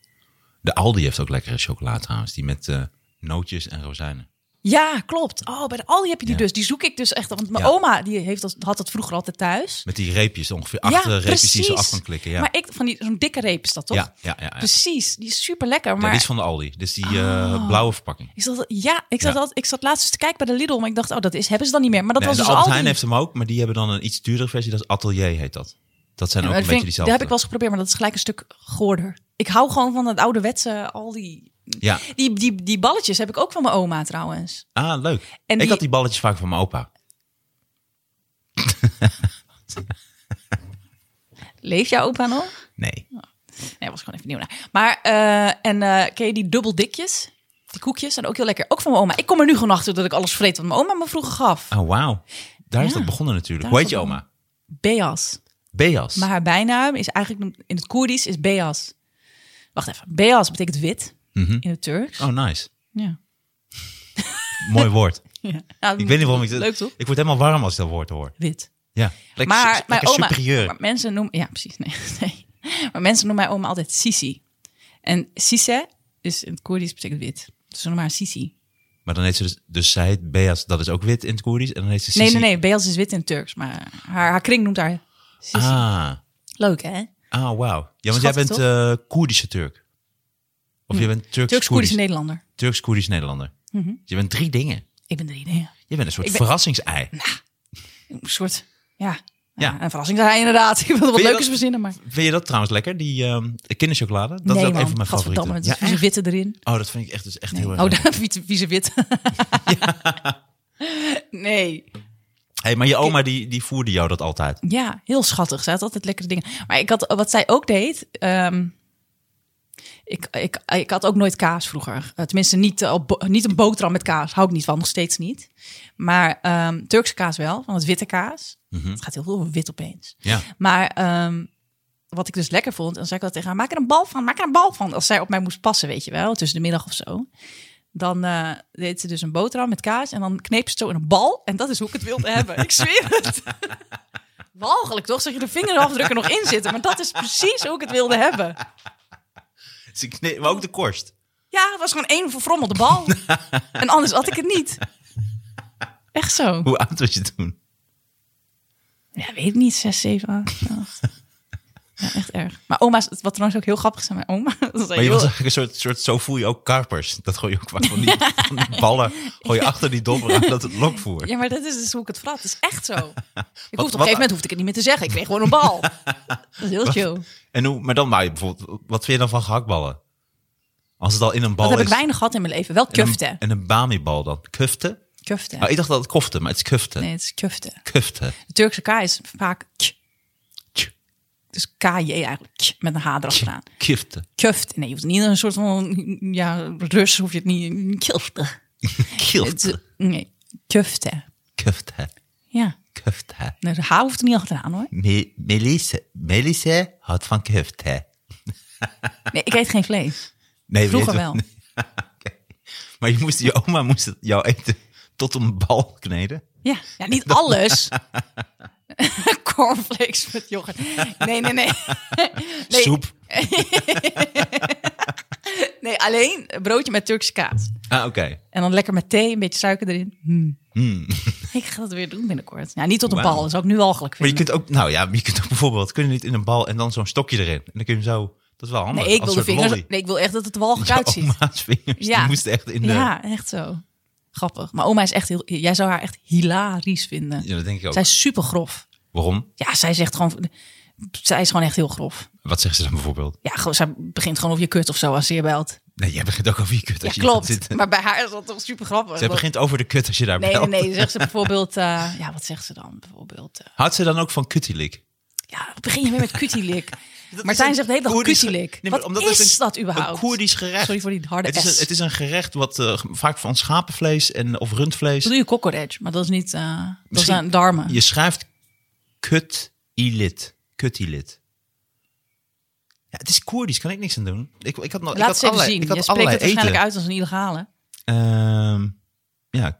Speaker 2: De Aldi heeft ook lekkere chocolade trouwens. Die met eh, nootjes en rozijnen.
Speaker 3: Ja, klopt. Oh, bij de Aldi heb je die
Speaker 2: Ja.
Speaker 3: dus. Die zoek ik dus echt. Want mijn
Speaker 2: Ja.
Speaker 3: oma die heeft dat, had dat vroeger altijd thuis.
Speaker 2: Met die reepjes, ongeveer acht eh, reepjes die je zo af kan klikken. Ja.
Speaker 3: Maar ik, van die, zo'n dikke reep is dat toch?
Speaker 2: ja, ja, ja, ja.
Speaker 3: Precies, die is super lekker.
Speaker 2: Ja,
Speaker 3: Maar Ah.
Speaker 2: die is van de Aldi. Dus die eh, blauwe verpakking.
Speaker 3: is dat, ja, ik zat,
Speaker 2: Ja.
Speaker 3: al- ik zat laatst eens te kijken bij de Lidl, maar ik dacht, oh, dat is, hebben ze dan niet meer. Maar dat
Speaker 2: Nee,
Speaker 3: was
Speaker 2: de
Speaker 3: dus
Speaker 2: Albert
Speaker 3: Aldi.
Speaker 2: Heijn heeft hem ook, maar die hebben dan een iets duurdere versie. Dat is Atelier heet dat. Dat zijn
Speaker 3: Ja,
Speaker 2: ook
Speaker 3: maar
Speaker 2: een
Speaker 3: dat
Speaker 2: beetje
Speaker 3: vind ik-
Speaker 2: diezelfde.
Speaker 3: Dat heb ik wel eens geprobeerd, maar dat is gelijk een stuk goorder. Ik hou gewoon van dat ouderwetse, al die...
Speaker 2: Ja.
Speaker 3: Die, die, die balletjes heb ik ook van mijn oma trouwens.
Speaker 2: Ah, leuk.
Speaker 3: En
Speaker 2: ik
Speaker 3: die-
Speaker 2: had die balletjes vaak van mijn opa.
Speaker 3: Leef jouw opa nog?
Speaker 2: Nee.
Speaker 3: Nee, was gewoon even nieuw naar. Maar, eh, en eh ken je die dubbeldikjes? Die koekjes zijn ook heel lekker. Ook van mijn oma. Ik kom er nu gewoon achter dat ik alles vreet wat mijn oma me vroeger gaf.
Speaker 2: Oh, wauw. Daar is
Speaker 3: Ja.
Speaker 2: dat begonnen natuurlijk.
Speaker 3: Daar
Speaker 2: Hoe
Speaker 3: is
Speaker 2: heet je
Speaker 3: dat
Speaker 2: oma?
Speaker 3: Beas.
Speaker 2: Beas.
Speaker 3: Maar haar bijnaam is eigenlijk in het Koerdisch is Beas. Wacht even. Beas betekent wit
Speaker 2: Mhm.
Speaker 3: in het Turks.
Speaker 2: Oh, nice.
Speaker 3: Ja.
Speaker 2: Mooi woord.
Speaker 3: ja.
Speaker 2: Ik weet niet waarom ik... dat-
Speaker 3: Leuk toch?
Speaker 2: Ik word helemaal warm als ik dat woord hoor.
Speaker 3: Wit.
Speaker 2: Ja. Lekker,
Speaker 3: maar
Speaker 2: su-
Speaker 3: mijn
Speaker 2: lekker
Speaker 3: oma,
Speaker 2: superieur.
Speaker 3: maar mensen noemen, ja precies, nee, nee. Maar mensen noemen mijn oma altijd Sisi. En Sisse is in het Koerdisch betekent wit. Dus ze noemen haar Sisi.
Speaker 2: Maar dan heet ze dus... Dus zij heet Beas. Dat is ook wit in het Koerdisch. En dan heet ze
Speaker 3: Nee,
Speaker 2: Sisi.
Speaker 3: nee, nee, Beels is wit in het Turks, maar haar, haar kring noemt haar Sisi.
Speaker 2: Ah.
Speaker 3: Leuk hè?
Speaker 2: Ah, wauw. Ja, want jij
Speaker 3: Schattig, Hm.
Speaker 2: bent eh, Koerdische Turk. Of je bent
Speaker 3: Turks-Koerdisch
Speaker 2: Turks-Koerdisch
Speaker 3: Nederlander.
Speaker 2: Turks-Koerdisch Nederlander. Dus je bent drie dingen.
Speaker 3: Ik ben drie, nee.
Speaker 2: Je bent een soort
Speaker 3: Ik ben- Nou.
Speaker 2: verrassingsei.
Speaker 3: Een soort, ja,
Speaker 2: Ja.
Speaker 3: ja. een verrassing daar inderdaad. Ik wil er wat
Speaker 2: je
Speaker 3: leukers
Speaker 2: dat-
Speaker 3: verzinnen, maar...
Speaker 2: Vind je dat trouwens lekker, die ehm, kinderchocolade? Dat
Speaker 3: nee
Speaker 2: is ook
Speaker 3: man,
Speaker 2: een van mijn
Speaker 3: gadverdamme,
Speaker 2: favorieten.
Speaker 3: het is vieze
Speaker 2: echt?
Speaker 3: witte erin.
Speaker 2: Oh, dat vind ik echt, dus echt
Speaker 3: Nee.
Speaker 2: heel erg.
Speaker 3: Oh,
Speaker 2: lekker.
Speaker 3: daar, vieze, vieze wit. Nee.
Speaker 2: hey, maar je oma die, die voerde jou dat altijd.
Speaker 3: Ja, heel schattig. Ze had altijd lekkere dingen. Maar ik had, wat zij ook deed... ehm, ik, ik, ik had ook nooit kaas vroeger. Eh, Tenminste, niet, eh, op bo- niet een boterham met kaas. Hou ik niet van, nog steeds niet. Maar ehm, Turkse kaas wel, van het witte kaas. Het gaat heel veel over wit opeens.
Speaker 2: Ja.
Speaker 3: Maar ehm, wat ik dus lekker vond, dan zei ik wel tegen haar... maak er een bal van, maak er een bal van. Als zij op mij moest passen, weet je wel, tussen de middag of zo. Dan eh, deed ze dus een boterham met kaas en dan kneep ze het zo in een bal. En dat is hoe ik het wilde hebben. Ik zweer het. Walgelijk toch? Zeg je de vingerafdrukken nog in zitten. Maar dat is precies hoe ik het wilde hebben.
Speaker 2: Ze kne- Dus maar ook de korst.
Speaker 3: Ja, het was gewoon één verfrommelde bal. En anders had ik het niet. Echt zo.
Speaker 2: Hoe oud was je toen?
Speaker 3: Ja, weet ik niet. Zes, zeven, acht, acht. Ja, echt erg. Maar oma's, wat trouwens ook heel grappig is aan mijn oma. Dat is
Speaker 2: Maar je
Speaker 3: heel-
Speaker 2: was eigenlijk een soort, soort, zo voel je ook karpers. Dat gooi je ook vaak van die, van die ballen. Gooi je achter die dobber aan dat het lokvoer.
Speaker 3: Ja, maar dat is dus hoe ik het vrat. Dat is echt zo. Ik hoefde op een
Speaker 2: wat-
Speaker 3: gegeven moment hoefde ik het niet meer te zeggen. Ik kreeg gewoon een bal. Dat is heel chill.
Speaker 2: En hoe, maar dan maak je bijvoorbeeld, wat vind je dan van gehaktballen? Als het al in een bal
Speaker 3: Dat heb
Speaker 2: is.
Speaker 3: ik weinig gehad in mijn leven. Wel
Speaker 2: En een-
Speaker 3: kufte.
Speaker 2: En een bamibal dan. Kufte?
Speaker 3: Kufte.
Speaker 2: Oh, ik dacht dat het kofte, maar het is kufte.
Speaker 3: Nee, het is kufte.
Speaker 2: Kufte.
Speaker 3: De Turkse K is vaak k.
Speaker 2: Tj.
Speaker 3: Dus KJ eigenlijk. K, met een H erachteraan.
Speaker 2: Kifte.
Speaker 3: Kuft. Nee, je hoeft niet een soort van... Ja, Rus hoef je het niet... Kufte. Het-
Speaker 2: Kifte.
Speaker 3: Nee, kufte.
Speaker 2: Kufte.
Speaker 3: Ja.
Speaker 2: Kufte.
Speaker 3: Nou, De H hoeft er niet achteraan hoor.
Speaker 2: Me- Melisse. Melisse houdt van kufte.
Speaker 3: Nee, ik eet geen vlees.
Speaker 2: Nee,
Speaker 3: Vroeger
Speaker 2: weet-
Speaker 3: wel.
Speaker 2: Oké. Maar je, moest, je oma moest het jou eten tot een bal kneden.
Speaker 3: Ja, ja niet alles. Cornflakes met yoghurt. Nee, nee, nee. nee.
Speaker 2: Soep.
Speaker 3: Nee, alleen een broodje met Turkse kaas.
Speaker 2: Ah, oké.
Speaker 3: En dan lekker met thee, een beetje suiker erin. Hmm. Ik ga dat weer doen binnenkort. Ja, niet tot een
Speaker 2: Wauw.
Speaker 3: bal, dat zou ik nu al vinden.
Speaker 2: Maar je kunt ook, nou ja, je kunt ook bijvoorbeeld, kun je niet in een bal en dan zo'n stokje erin. En dan kun je hem zo, dat is wel handig.
Speaker 3: Nee, ik
Speaker 2: Oh, als
Speaker 3: wil de
Speaker 2: soort
Speaker 3: vingers.
Speaker 2: lolly.
Speaker 3: Nee, ik wil echt dat het er walgelijk
Speaker 2: Ja, oh,
Speaker 3: uitziet.
Speaker 2: oma's vingers,
Speaker 3: Ja.
Speaker 2: die moesten echt in de... Ja.
Speaker 3: Ja, echt zo. Grappig. Maar oma is echt heel. Jij zou haar echt hilarisch vinden.
Speaker 2: dat denk ik ook.
Speaker 3: Zij is super grof.
Speaker 2: Waarom?
Speaker 3: Ja, zij zegt gewoon. Zij is gewoon echt heel grof.
Speaker 2: Wat zegt ze dan bijvoorbeeld?
Speaker 3: Ja, gewoon, zij begint gewoon over je kut of zo als ze je belt.
Speaker 2: Nee, jij begint ook over je kut
Speaker 3: Ja,
Speaker 2: als je iemand
Speaker 3: klopt.
Speaker 2: zit.
Speaker 3: Maar bij haar is dat toch super grappig.
Speaker 2: Zij
Speaker 3: Dat-
Speaker 2: begint over de kut als je daar
Speaker 3: Nee, nee,
Speaker 2: belt.
Speaker 3: nee. Zegt ze bijvoorbeeld. eh, ja, wat zegt ze dan? Bijvoorbeeld. eh,
Speaker 2: Had ze dan ook van kutielik?
Speaker 3: ja, begin je weer met kutielik. Martijn zegt de hele dag kutielik. Wat is dat überhaupt?
Speaker 2: Een Koerdisch gerecht.
Speaker 3: Sorry voor die harde
Speaker 2: het is
Speaker 3: S.
Speaker 2: een, Het is een gerecht wat eh, vaak van schapenvlees en, of rundvlees.
Speaker 3: Ik bedoel je cockroach, maar dat is niet. eh dat
Speaker 2: Misschien-
Speaker 3: zijn darmen.
Speaker 2: Je schrijft kut-ilit. Kut-ilit. Ja, het is Koerdisch, kan ik niks aan doen. Ik, ik had, nog, ik
Speaker 3: Laat
Speaker 2: had
Speaker 3: ze even
Speaker 2: allerlei,
Speaker 3: zien.
Speaker 2: Ik
Speaker 3: Je
Speaker 2: had
Speaker 3: spreekt het
Speaker 2: allerlei
Speaker 3: waarschijnlijk
Speaker 2: eten.
Speaker 3: uit als een illegale.
Speaker 2: Ehm, ja,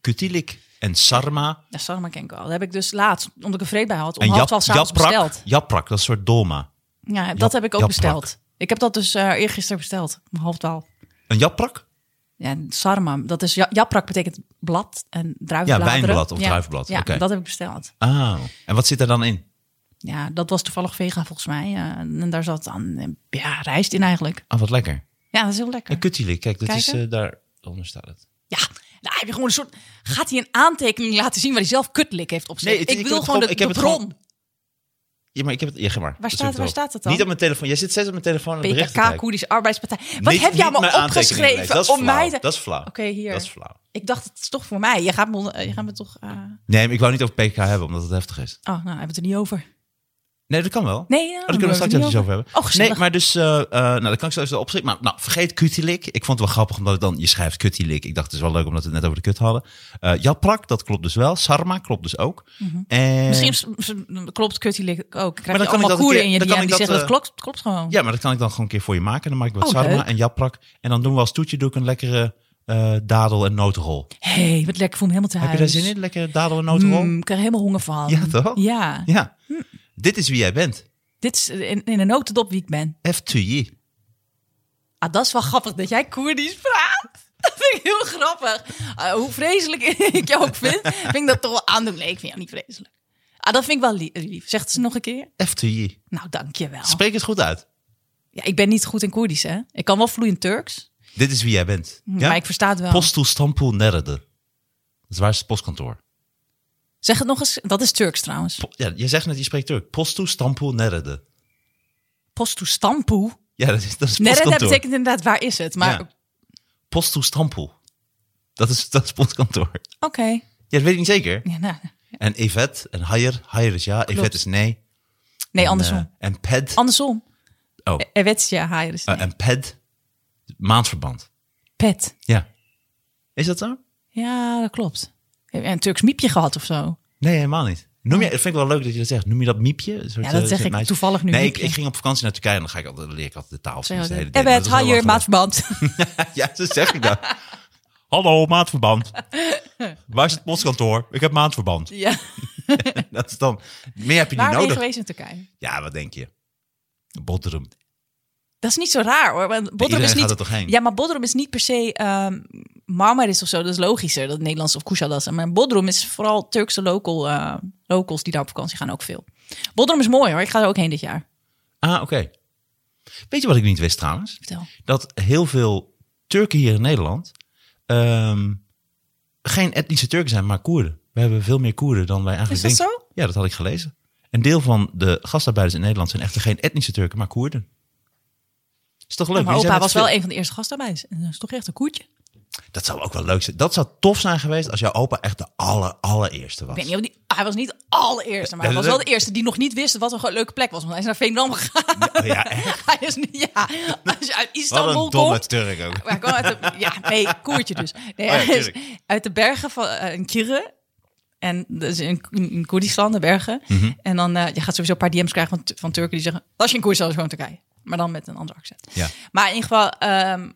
Speaker 2: kutilik en sarma.
Speaker 3: Ja, sarma ken ik wel. Dat heb ik dus laatst, omdat ik er vreed bij had, om
Speaker 2: en
Speaker 3: half
Speaker 2: jap-
Speaker 3: twaalf 's avonds
Speaker 2: japrak.
Speaker 3: besteld.
Speaker 2: Japrak, dat is een soort dolma.
Speaker 3: Ja, dat
Speaker 2: Jap-
Speaker 3: heb ik ook
Speaker 2: japrak.
Speaker 3: besteld. Ik heb dat dus eh eergisteren besteld, om half twaalf.
Speaker 2: Een japrak?
Speaker 3: Ja, sarma, dat is, ja, japrak betekent blad en druivenblad.
Speaker 2: wijnblad of druivenblad,
Speaker 3: Ja,
Speaker 2: oké.
Speaker 3: dat heb ik besteld.
Speaker 2: Ah, en wat zit er dan in?
Speaker 3: Ja, dat was toevallig vega volgens mij. eh, en daar zat dan eh, ja, rijst in eigenlijk.
Speaker 2: Ah, wat lekker.
Speaker 3: Ja, dat is heel
Speaker 2: Een
Speaker 3: lekker.
Speaker 2: kutilik, kijk, dat is
Speaker 3: Kijken?
Speaker 2: eh, daar... Onder staat het.
Speaker 3: Ja, nou, heb je gewoon een soort... Gaat hij een aantekening laten zien waar hij zelf kutlik heeft opgezet?
Speaker 2: Nee, het-
Speaker 3: ik,
Speaker 2: ik
Speaker 3: wil
Speaker 2: heb het
Speaker 3: gewoon de,
Speaker 2: gewoon- ik
Speaker 3: de
Speaker 2: heb het
Speaker 3: bron.
Speaker 2: gewoon- Ja, maar ik heb het... Ja, ga maar.
Speaker 3: staat-
Speaker 2: Dat zoek ik
Speaker 3: waar
Speaker 2: wel.
Speaker 3: staat het dan?
Speaker 2: Niet op mijn telefoon. Jij zit steeds op mijn telefoon en berichten te
Speaker 3: PKK,
Speaker 2: kijken.
Speaker 3: Koerdische Arbeidspartij. Wat heb
Speaker 2: Niet-
Speaker 3: jij
Speaker 2: niet mijn
Speaker 3: allemaal
Speaker 2: aantekeningen lezen. Dat
Speaker 3: opgeschreven
Speaker 2: is
Speaker 3: om mij
Speaker 2: flauw.
Speaker 3: te...
Speaker 2: Dat is flauw.
Speaker 3: Oké, hier.
Speaker 2: Dat is flauw.
Speaker 3: Ik dacht, het is toch voor mij. Je gaat me, je gaat me toch... eh,
Speaker 2: Nee, maar ik wou niet over PK hebben, omdat het heftig is.
Speaker 3: Oh, nou, hebben we het er niet over.
Speaker 2: Nee, dat kan wel.
Speaker 3: Nee, ja,
Speaker 2: Oh, daar kunnen we straks
Speaker 3: het
Speaker 2: even
Speaker 3: niet
Speaker 2: over hebben.
Speaker 3: Oh, gezellig.
Speaker 2: Nee, maar dus, eh eh, nou, dat kan ik zo even opschrijven. Maar nou, vergeet Kutilik. Ik vond het wel grappig, omdat het dan, je schrijft Kutilik. Ik dacht, het is wel leuk, omdat we het net over de kut hadden. Eh Japrak, dat klopt dus wel. Sarma klopt dus ook. En-
Speaker 3: Mhm. Misschien s- s- klopt Kutty Lick ook. Krijg
Speaker 2: kan
Speaker 3: je
Speaker 2: ik
Speaker 3: allemaal
Speaker 2: dat een
Speaker 3: koeren in
Speaker 2: keer-
Speaker 3: je
Speaker 2: dan
Speaker 3: DM
Speaker 2: kan
Speaker 3: die
Speaker 2: ik
Speaker 3: zeggen
Speaker 2: dat,
Speaker 3: dat
Speaker 2: eh,
Speaker 3: klopt, klopt gewoon.
Speaker 2: Ja, maar dat kan ik dan gewoon een keer voor je maken. En dan maak ik wat
Speaker 3: Oh,
Speaker 2: sarma
Speaker 3: leuk.
Speaker 2: en Japrak. En dan doen we als toetje doe ik een lekkere eh, dadel- en notenrol.
Speaker 3: Hé, hey, wat lekker. Ik voel me helemaal te
Speaker 2: Heb je
Speaker 3: huis.
Speaker 2: daar zin in? Lekkere dadel- en notenrol?
Speaker 3: dus- Mm, ik krijg helemaal honger van.
Speaker 2: Ja, toch?
Speaker 3: Ja.
Speaker 2: Ja. Dit is wie jij bent.
Speaker 3: Dit is in, in een notendop wie ik ben.
Speaker 2: FTJ.
Speaker 3: Ah, dat is wel grappig dat jij Koerdisch praat. Dat vind ik heel grappig. Ah, hoe vreselijk ik jou ook vind, vind ik dat toch wel aandoen. Nee, ik vind jou niet vreselijk. Ah, dat vind ik wel lie- lief. Zegt ze nog een keer?
Speaker 2: FTJ.
Speaker 3: Nou, dankjewel.
Speaker 2: Spreek het goed uit.
Speaker 3: Ja, ik ben niet goed in Koerdisch, hè. Ik kan wel vloeiend Turks,
Speaker 2: Dit is wie jij bent.
Speaker 3: Hm, maar ik versta het wel.
Speaker 2: Postel Stampoel Nerede. Dat is waar is het postkantoor.
Speaker 3: Zeg het nog eens. Dat is Turks trouwens.
Speaker 2: Po- ja, je zegt net, je spreekt Turk. Postel Stampoel Nerede.
Speaker 3: Postu stampu.
Speaker 2: Ja, dat is, dat is het
Speaker 3: Nee, dat
Speaker 2: postkantoor.
Speaker 3: betekent inderdaad waar is het. Maar
Speaker 2: Ja. Postel Stampoel. Dat is, dat is postkantoor.
Speaker 3: oké.
Speaker 2: Ja, dat weet ik niet zeker.
Speaker 3: Ja, nou,
Speaker 2: En Evette en Haier. Haier is ja, Evette is nee.
Speaker 3: nee, andersom.
Speaker 2: En, eh, en Ped.
Speaker 3: andersom. E-,
Speaker 2: Oh.
Speaker 3: Er werd je haar is
Speaker 2: Eh, en Ped. Maandverband.
Speaker 3: pet.
Speaker 2: Ja. Is dat zo?
Speaker 3: Ja, dat klopt. Heb je een Turks miepje gehad of zo?
Speaker 2: Nee, helemaal niet. Noem je, dat vind ik wel leuk dat je dat zegt. Noem je dat miepje? Een soort,
Speaker 3: Oh. Ja, dat
Speaker 2: eh,
Speaker 3: zeg
Speaker 2: zo'n
Speaker 3: ik toevallig nu
Speaker 2: Nee, ik,
Speaker 3: miepje.
Speaker 2: ik ging op vakantie naar Turkije en dan, ga ik altijd, dan leer ik altijd de taal. van mensen de hele
Speaker 3: Er
Speaker 2: tijd.
Speaker 3: werd
Speaker 2: Dus Maar dat is heel
Speaker 3: haar
Speaker 2: lang
Speaker 3: maatverband.
Speaker 2: geleden. Ja, zo zeg ik dat. Hallo, maandverband. Waar is het postkantoor? Ik heb maandverband.
Speaker 3: ja.
Speaker 2: Dat is dan... Meer heb je niet
Speaker 3: Waar ben je
Speaker 2: nodig.
Speaker 3: geweest in Turkije?
Speaker 2: Ja, wat denk je? Bodrum.
Speaker 3: Dat is niet zo raar hoor. Want Bodrum
Speaker 2: iedereen
Speaker 3: is niet,
Speaker 2: gaat er toch heen?
Speaker 3: Ja, maar Bodrum is niet per se ehm Marmaris of zo. Dat is logischer. Dat Nederlands of Kushadas. Maar Bodrum is vooral Turkse local, eh, locals die daar op vakantie gaan ook veel. Bodrum is mooi hoor. Ik ga er ook heen dit jaar.
Speaker 2: Ah, oké. Weet je wat ik niet wist trouwens?
Speaker 3: Vertel.
Speaker 2: dat heel veel Turken hier in Nederland ehm, geen etnische Turken zijn, maar Koerden. We hebben veel meer Koerden dan wij eigenlijk
Speaker 3: Is dat
Speaker 2: denken. Ja, dat had ik gelezen. Een deel van de gastarbeiders in Nederland zijn echter geen etnische Turken, maar Koerden. Is toch leuk?
Speaker 3: Maar
Speaker 2: Jullie
Speaker 3: opa
Speaker 2: zijn
Speaker 3: was
Speaker 2: met
Speaker 3: wel e-
Speaker 2: veel-
Speaker 3: een van de eerste gastarbeiders. En dat is toch echt een koetje.
Speaker 2: Dat zou ook wel leuk zijn. Dat zou tof zijn geweest als jouw opa echt de aller, allereerste was.
Speaker 3: Ik weet niet of die- hij was niet de allereerste, maar hij was
Speaker 2: Dat is
Speaker 3: wel de
Speaker 2: het.
Speaker 3: eerste die nog niet wist wat een ge- leuke plek was. Want hij is naar Veendam gegaan.
Speaker 2: Oh, ja, echt?
Speaker 3: Hij is niet, ja, als je uit
Speaker 2: Wat
Speaker 3: Istanbul
Speaker 2: een domme
Speaker 3: komt.
Speaker 2: Turk ook.
Speaker 3: Maar hij kwam uit de, ja, nee, koertje dus. Nee,
Speaker 2: Oh ja,
Speaker 3: hij is
Speaker 2: tuurlijk.
Speaker 3: uit de bergen van eh, een Kirre. En dat is in, in Koerdistan, de bergen.
Speaker 2: Mhm.
Speaker 3: En dan, eh, je gaat sowieso een paar DM's krijgen van, van Turken die zeggen... Als je in Koerdistan is, gewoon Turkije. Maar dan met een ander accent.
Speaker 2: Ja.
Speaker 3: Maar in ieder geval, ehm,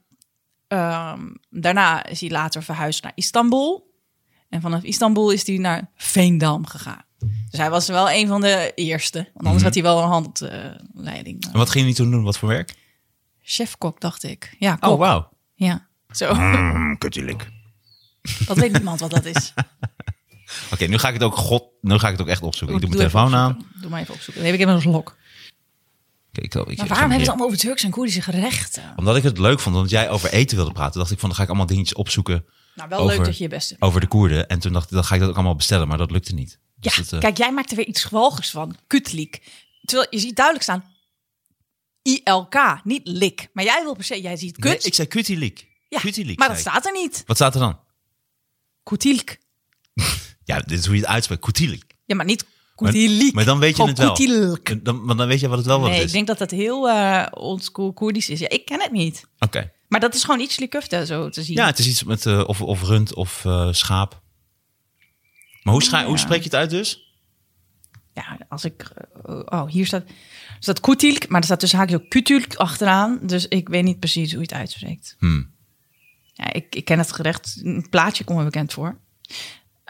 Speaker 3: ehm, daarna is hij later verhuisd naar Istanbul. En vanaf Istanbul is hij naar Veendam gegaan. Dus hij was wel een van
Speaker 2: Mhm.
Speaker 3: de eerste. Want anders had hij wel een handleiding.
Speaker 2: En wat ging hij toen doen? Wat voor werk?
Speaker 3: Chefkok, dacht ik. Ja, kok.
Speaker 2: Oh, wauw.
Speaker 3: Ja, zo.
Speaker 2: Mm, kutjelik.
Speaker 3: Dat weet niemand wat dat is.
Speaker 2: Oké, nu ga ik het ook god, nu ga ik het ook echt opzoeken. Ik doe mijn
Speaker 3: Oh, even
Speaker 2: telefoon aan.
Speaker 3: opzoeken. Doe maar even opzoeken. Nee, ik heb een lok.
Speaker 2: Kijk, ik, ik,
Speaker 3: Maar
Speaker 2: ik- ik-
Speaker 3: waarom hebben ze allemaal over Turks en Koerdische gerechten?
Speaker 2: Omdat ik het leuk vond, omdat jij over eten wilde praten, dacht ik van dan ga ik allemaal dingetjes opzoeken
Speaker 3: Nou, wel
Speaker 2: Over- Oh,
Speaker 3: leuk dat je je best hebt.
Speaker 2: over de Koerden. En toen dacht ik, dan ga ik dat ook allemaal bestellen, maar dat lukte niet. Dus
Speaker 3: Ja,
Speaker 2: dat, eh,
Speaker 3: kijk, jij maakt er weer iets gewaltigs van. Kutlik. Terwijl je ziet duidelijk staan ILK, niet lik. Maar jij wil per se, jij ziet kut.
Speaker 2: nee, ik zei kutielik.
Speaker 3: ja,
Speaker 2: kutielik
Speaker 3: maar dat
Speaker 2: zei ik.
Speaker 3: staat er niet.
Speaker 2: Wat staat er dan?
Speaker 3: Kutilk.
Speaker 2: Ja, dit is hoe je het uitspreekt. Kutielik.
Speaker 3: Ja, maar niet
Speaker 2: Maar-
Speaker 3: kutielik.
Speaker 2: Maar dan weet je
Speaker 3: Gewoon
Speaker 2: het wel.
Speaker 3: kutilk.
Speaker 2: Dan, want dan weet je wat het wel wat
Speaker 3: Nee,
Speaker 2: het
Speaker 3: ik
Speaker 2: is.
Speaker 3: denk dat dat heel eh oldschool Koerdisch is. Ja, ik ken het niet.
Speaker 2: Oké.
Speaker 3: Maar dat is gewoon iets likufte zo te zien.
Speaker 2: Ja, het is iets met eh, of, of rund of eh, schaap. Maar hoe, scha- hoe spreek je het uit dus?
Speaker 3: Ja, als ik... eh, Oh, hier staat, staat kutilk, maar er staat tussen haakjes ook kutulk achteraan. Dus ik weet niet precies hoe je het uitspreekt.
Speaker 2: Hmm.
Speaker 3: Ja, ik, ik ken het gerecht. Een plaatje komt me bekend voor.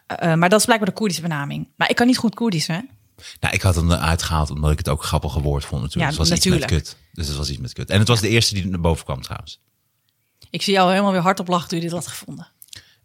Speaker 3: Eh, maar dat is blijkbaar de Koerdische benaming. Maar ik kan niet goed Koerdisch, hè?
Speaker 2: Nou, ik had hem eruit gehaald omdat ik het ook een grappig woord vond natuurlijk.
Speaker 3: Ja,
Speaker 2: dus het was iets
Speaker 3: natuurlijk.
Speaker 2: met kut. Dus het was iets met kut. En het was de eerste die naar boven kwam trouwens.
Speaker 3: Ik zie jou helemaal weer hardop lachen toen je dit had gevonden.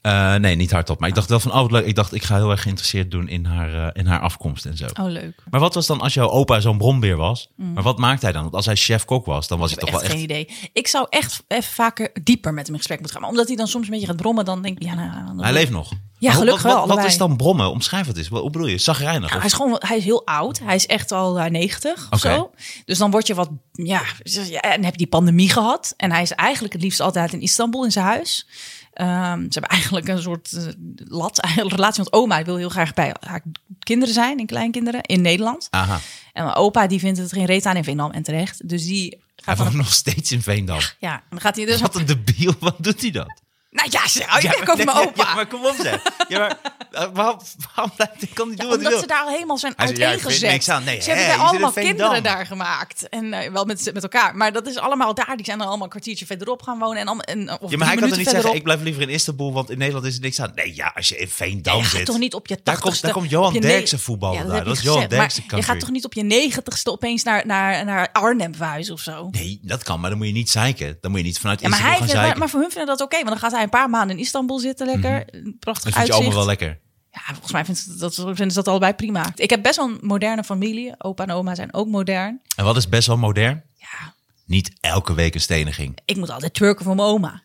Speaker 2: Eh, nee, niet hardop. Maar ik dacht wel van, oh wat leuk. Ik dacht, ik ga heel erg geïnteresseerd doen in haar, eh, in haar afkomst en zo.
Speaker 3: Oh, leuk.
Speaker 2: Maar wat was dan als jouw opa zo'n brombeer was? Maar wat maakt hij dan? Want als hij chef-kok was, dan was hij
Speaker 3: Ik heb
Speaker 2: toch
Speaker 3: echt
Speaker 2: wel echt...
Speaker 3: geen idee. Ik zou echt even vaker dieper met hem in gesprek moeten gaan. Maar omdat hij dan soms een beetje gaat brommen, dan denk ik... Ja, nou, dan-
Speaker 2: Hij leeft nog. Maar hoe-
Speaker 3: gelukkig wel,
Speaker 2: wat, wat, wat
Speaker 3: allebei.
Speaker 2: is dan brommen? Omschrijf het eens. Wat, hoe bedoel je? Zagrijnig?
Speaker 3: Nou,
Speaker 2: of-
Speaker 3: hij, is gewoon, hij is heel oud. Hij is echt al eh, 90 of
Speaker 2: Oké.
Speaker 3: zo. Dus dan word je wat... Ja, ja, en heb je die pandemie gehad. En hij is eigenlijk het liefst altijd in Istanbul in zijn huis. Ehm, ze hebben eigenlijk een soort eh, lat, een relatie. Want oma wil heel graag bij haar kinderen zijn en kleinkinderen in Nederland.
Speaker 2: Aha.
Speaker 3: En mijn opa die vindt het geen reet aan in Vietnam en terecht. Dus die
Speaker 2: Hij
Speaker 3: gaat dan...
Speaker 2: woont nog steeds in Veendam.
Speaker 3: Ja, dan gaat hij dus...
Speaker 2: Wat een debiel. Wat doet hij dat?
Speaker 3: Nou ja, ze- ik werk over
Speaker 2: Nee,
Speaker 3: mijn
Speaker 2: ja,
Speaker 3: opa.
Speaker 2: Ja, maar kom op zeg. Ja, maar, eh, waarom, waarom blijft hij- kan hij
Speaker 3: Ja,
Speaker 2: doen wat hij
Speaker 3: omdat
Speaker 2: wil?
Speaker 3: ze daar al helemaal zijn
Speaker 2: Hij
Speaker 3: uit
Speaker 2: zei, ja, ik vind
Speaker 3: ingezet.
Speaker 2: niks aan. Nee,
Speaker 3: ze
Speaker 2: hè,
Speaker 3: hebben
Speaker 2: je
Speaker 3: daar
Speaker 2: zit in
Speaker 3: allemaal
Speaker 2: Veendam.
Speaker 3: kinderen daar gemaakt. En eh, wel met, met elkaar. Maar dat is allemaal daar. Die zijn er allemaal een kwartiertje verderop gaan wonen. En allemaal, en, of
Speaker 2: Ja, maar hij
Speaker 3: drie
Speaker 2: kan er
Speaker 3: minuten
Speaker 2: niet zeggen, ik
Speaker 3: verderop.
Speaker 2: blijf liever in Istanbul, want in Nederland is er niks aan. Nee, ja, als je in Veendam
Speaker 3: Ja, je gaat
Speaker 2: zit.
Speaker 3: toch niet op je
Speaker 2: Daar komt, daar
Speaker 3: tachtigste-
Speaker 2: komt Johan
Speaker 3: op je
Speaker 2: Derksen
Speaker 3: ne-
Speaker 2: voetballen
Speaker 3: Ja,
Speaker 2: daar.
Speaker 3: heb
Speaker 2: Dat
Speaker 3: ik
Speaker 2: is Johan
Speaker 3: gezegd. Maar
Speaker 2: Derksen
Speaker 3: Je gaat
Speaker 2: country.
Speaker 3: toch niet op je negentigste opeens naar, naar, naar Arnhem verhuizen of zo?
Speaker 2: Nee, dat kan, maar dan moet je niet zeiken. Dan moet je niet vanuit
Speaker 3: Ja, maar,
Speaker 2: Istanbul
Speaker 3: hij
Speaker 2: gaan
Speaker 3: vindt,
Speaker 2: zeiken.
Speaker 3: maar, maar voor hun vinden dat oké. want dan gaat hij een paar maanden in Istanbul zitten lekker. Een
Speaker 2: Mhm. dat
Speaker 3: Prachtig
Speaker 2: vind je allemaal wel
Speaker 3: uitzicht.
Speaker 2: lekker.
Speaker 3: Ja, volgens mij vinden ze dat, vinden ze dat allebei prima. Ik heb best wel een moderne familie. Opa en oma zijn ook modern.
Speaker 2: En wat is best wel modern?
Speaker 3: Ja,
Speaker 2: Niet elke week een steniging.
Speaker 3: ik moet altijd twerken voor mijn oma.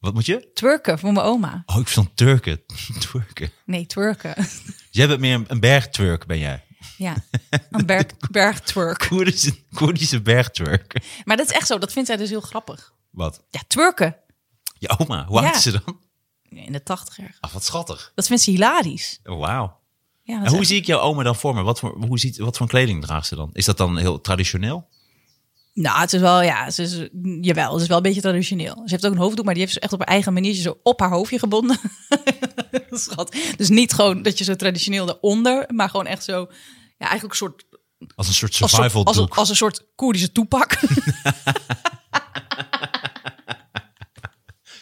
Speaker 2: Wat moet je?
Speaker 3: Twerken voor mijn oma.
Speaker 2: Oh, ik vond Turken. Turken.
Speaker 3: Nee, twerken.
Speaker 2: Jij bent meer een, een bergturk, ben jij.
Speaker 3: ja, een berg, bergtwerk.
Speaker 2: Koerdische, Koerdische bergturk.
Speaker 3: Maar dat is echt zo. Dat vindt zij dus heel grappig.
Speaker 2: Wat?
Speaker 3: Ja, twerken.
Speaker 2: Je oma, hoe
Speaker 3: Ja.
Speaker 2: oud is ze dan?
Speaker 3: In de tachtiger.
Speaker 2: Ah, wat schattig.
Speaker 3: Dat vindt ze hilarisch.
Speaker 2: Oh, Wauw.
Speaker 3: Ja, dat
Speaker 2: En
Speaker 3: is
Speaker 2: hoe
Speaker 3: echt-
Speaker 2: zie ik jouw oma dan voor me? Wat voor, hoe ziet, wat voor kleding draagt ze dan? Is dat dan heel traditioneel?
Speaker 3: Nou, het is wel, ja, ze is, jawel, het is wel een beetje traditioneel. Ze heeft ook een hoofddoek, maar die heeft ze echt op haar eigen maniertje zo op haar hoofdje gebonden. Schat. Dus niet gewoon dat je zo traditioneel eronder, maar gewoon echt zo, ja, eigenlijk een soort
Speaker 2: Als een soort
Speaker 3: als, een-
Speaker 2: survival
Speaker 3: als, een-
Speaker 2: doek.
Speaker 3: als een soort Koerdische toepak.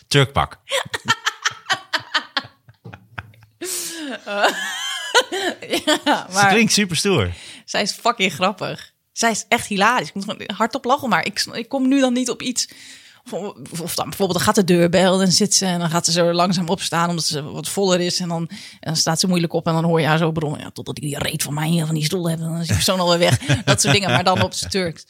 Speaker 2: Turkpak. Ze
Speaker 3: maar
Speaker 2: klinkt super stoer.
Speaker 3: zij is fucking grappig. Zij is echt hilarisch. Ik moet gewoon hardop lachen, maar ik, ik kom nu dan niet op iets. Of, of dan bijvoorbeeld dan gaat de deurbel en dan zit ze en dan gaat ze zo langzaam opstaan omdat ze wat voller is. En dan, en dan staat ze moeilijk op en dan hoor je haar zo brommen. Ja, totdat ik die reet van mij hier van die stoel heb, dan is die persoon alweer weg. Dat soort dingen, maar dan op z'n Turks.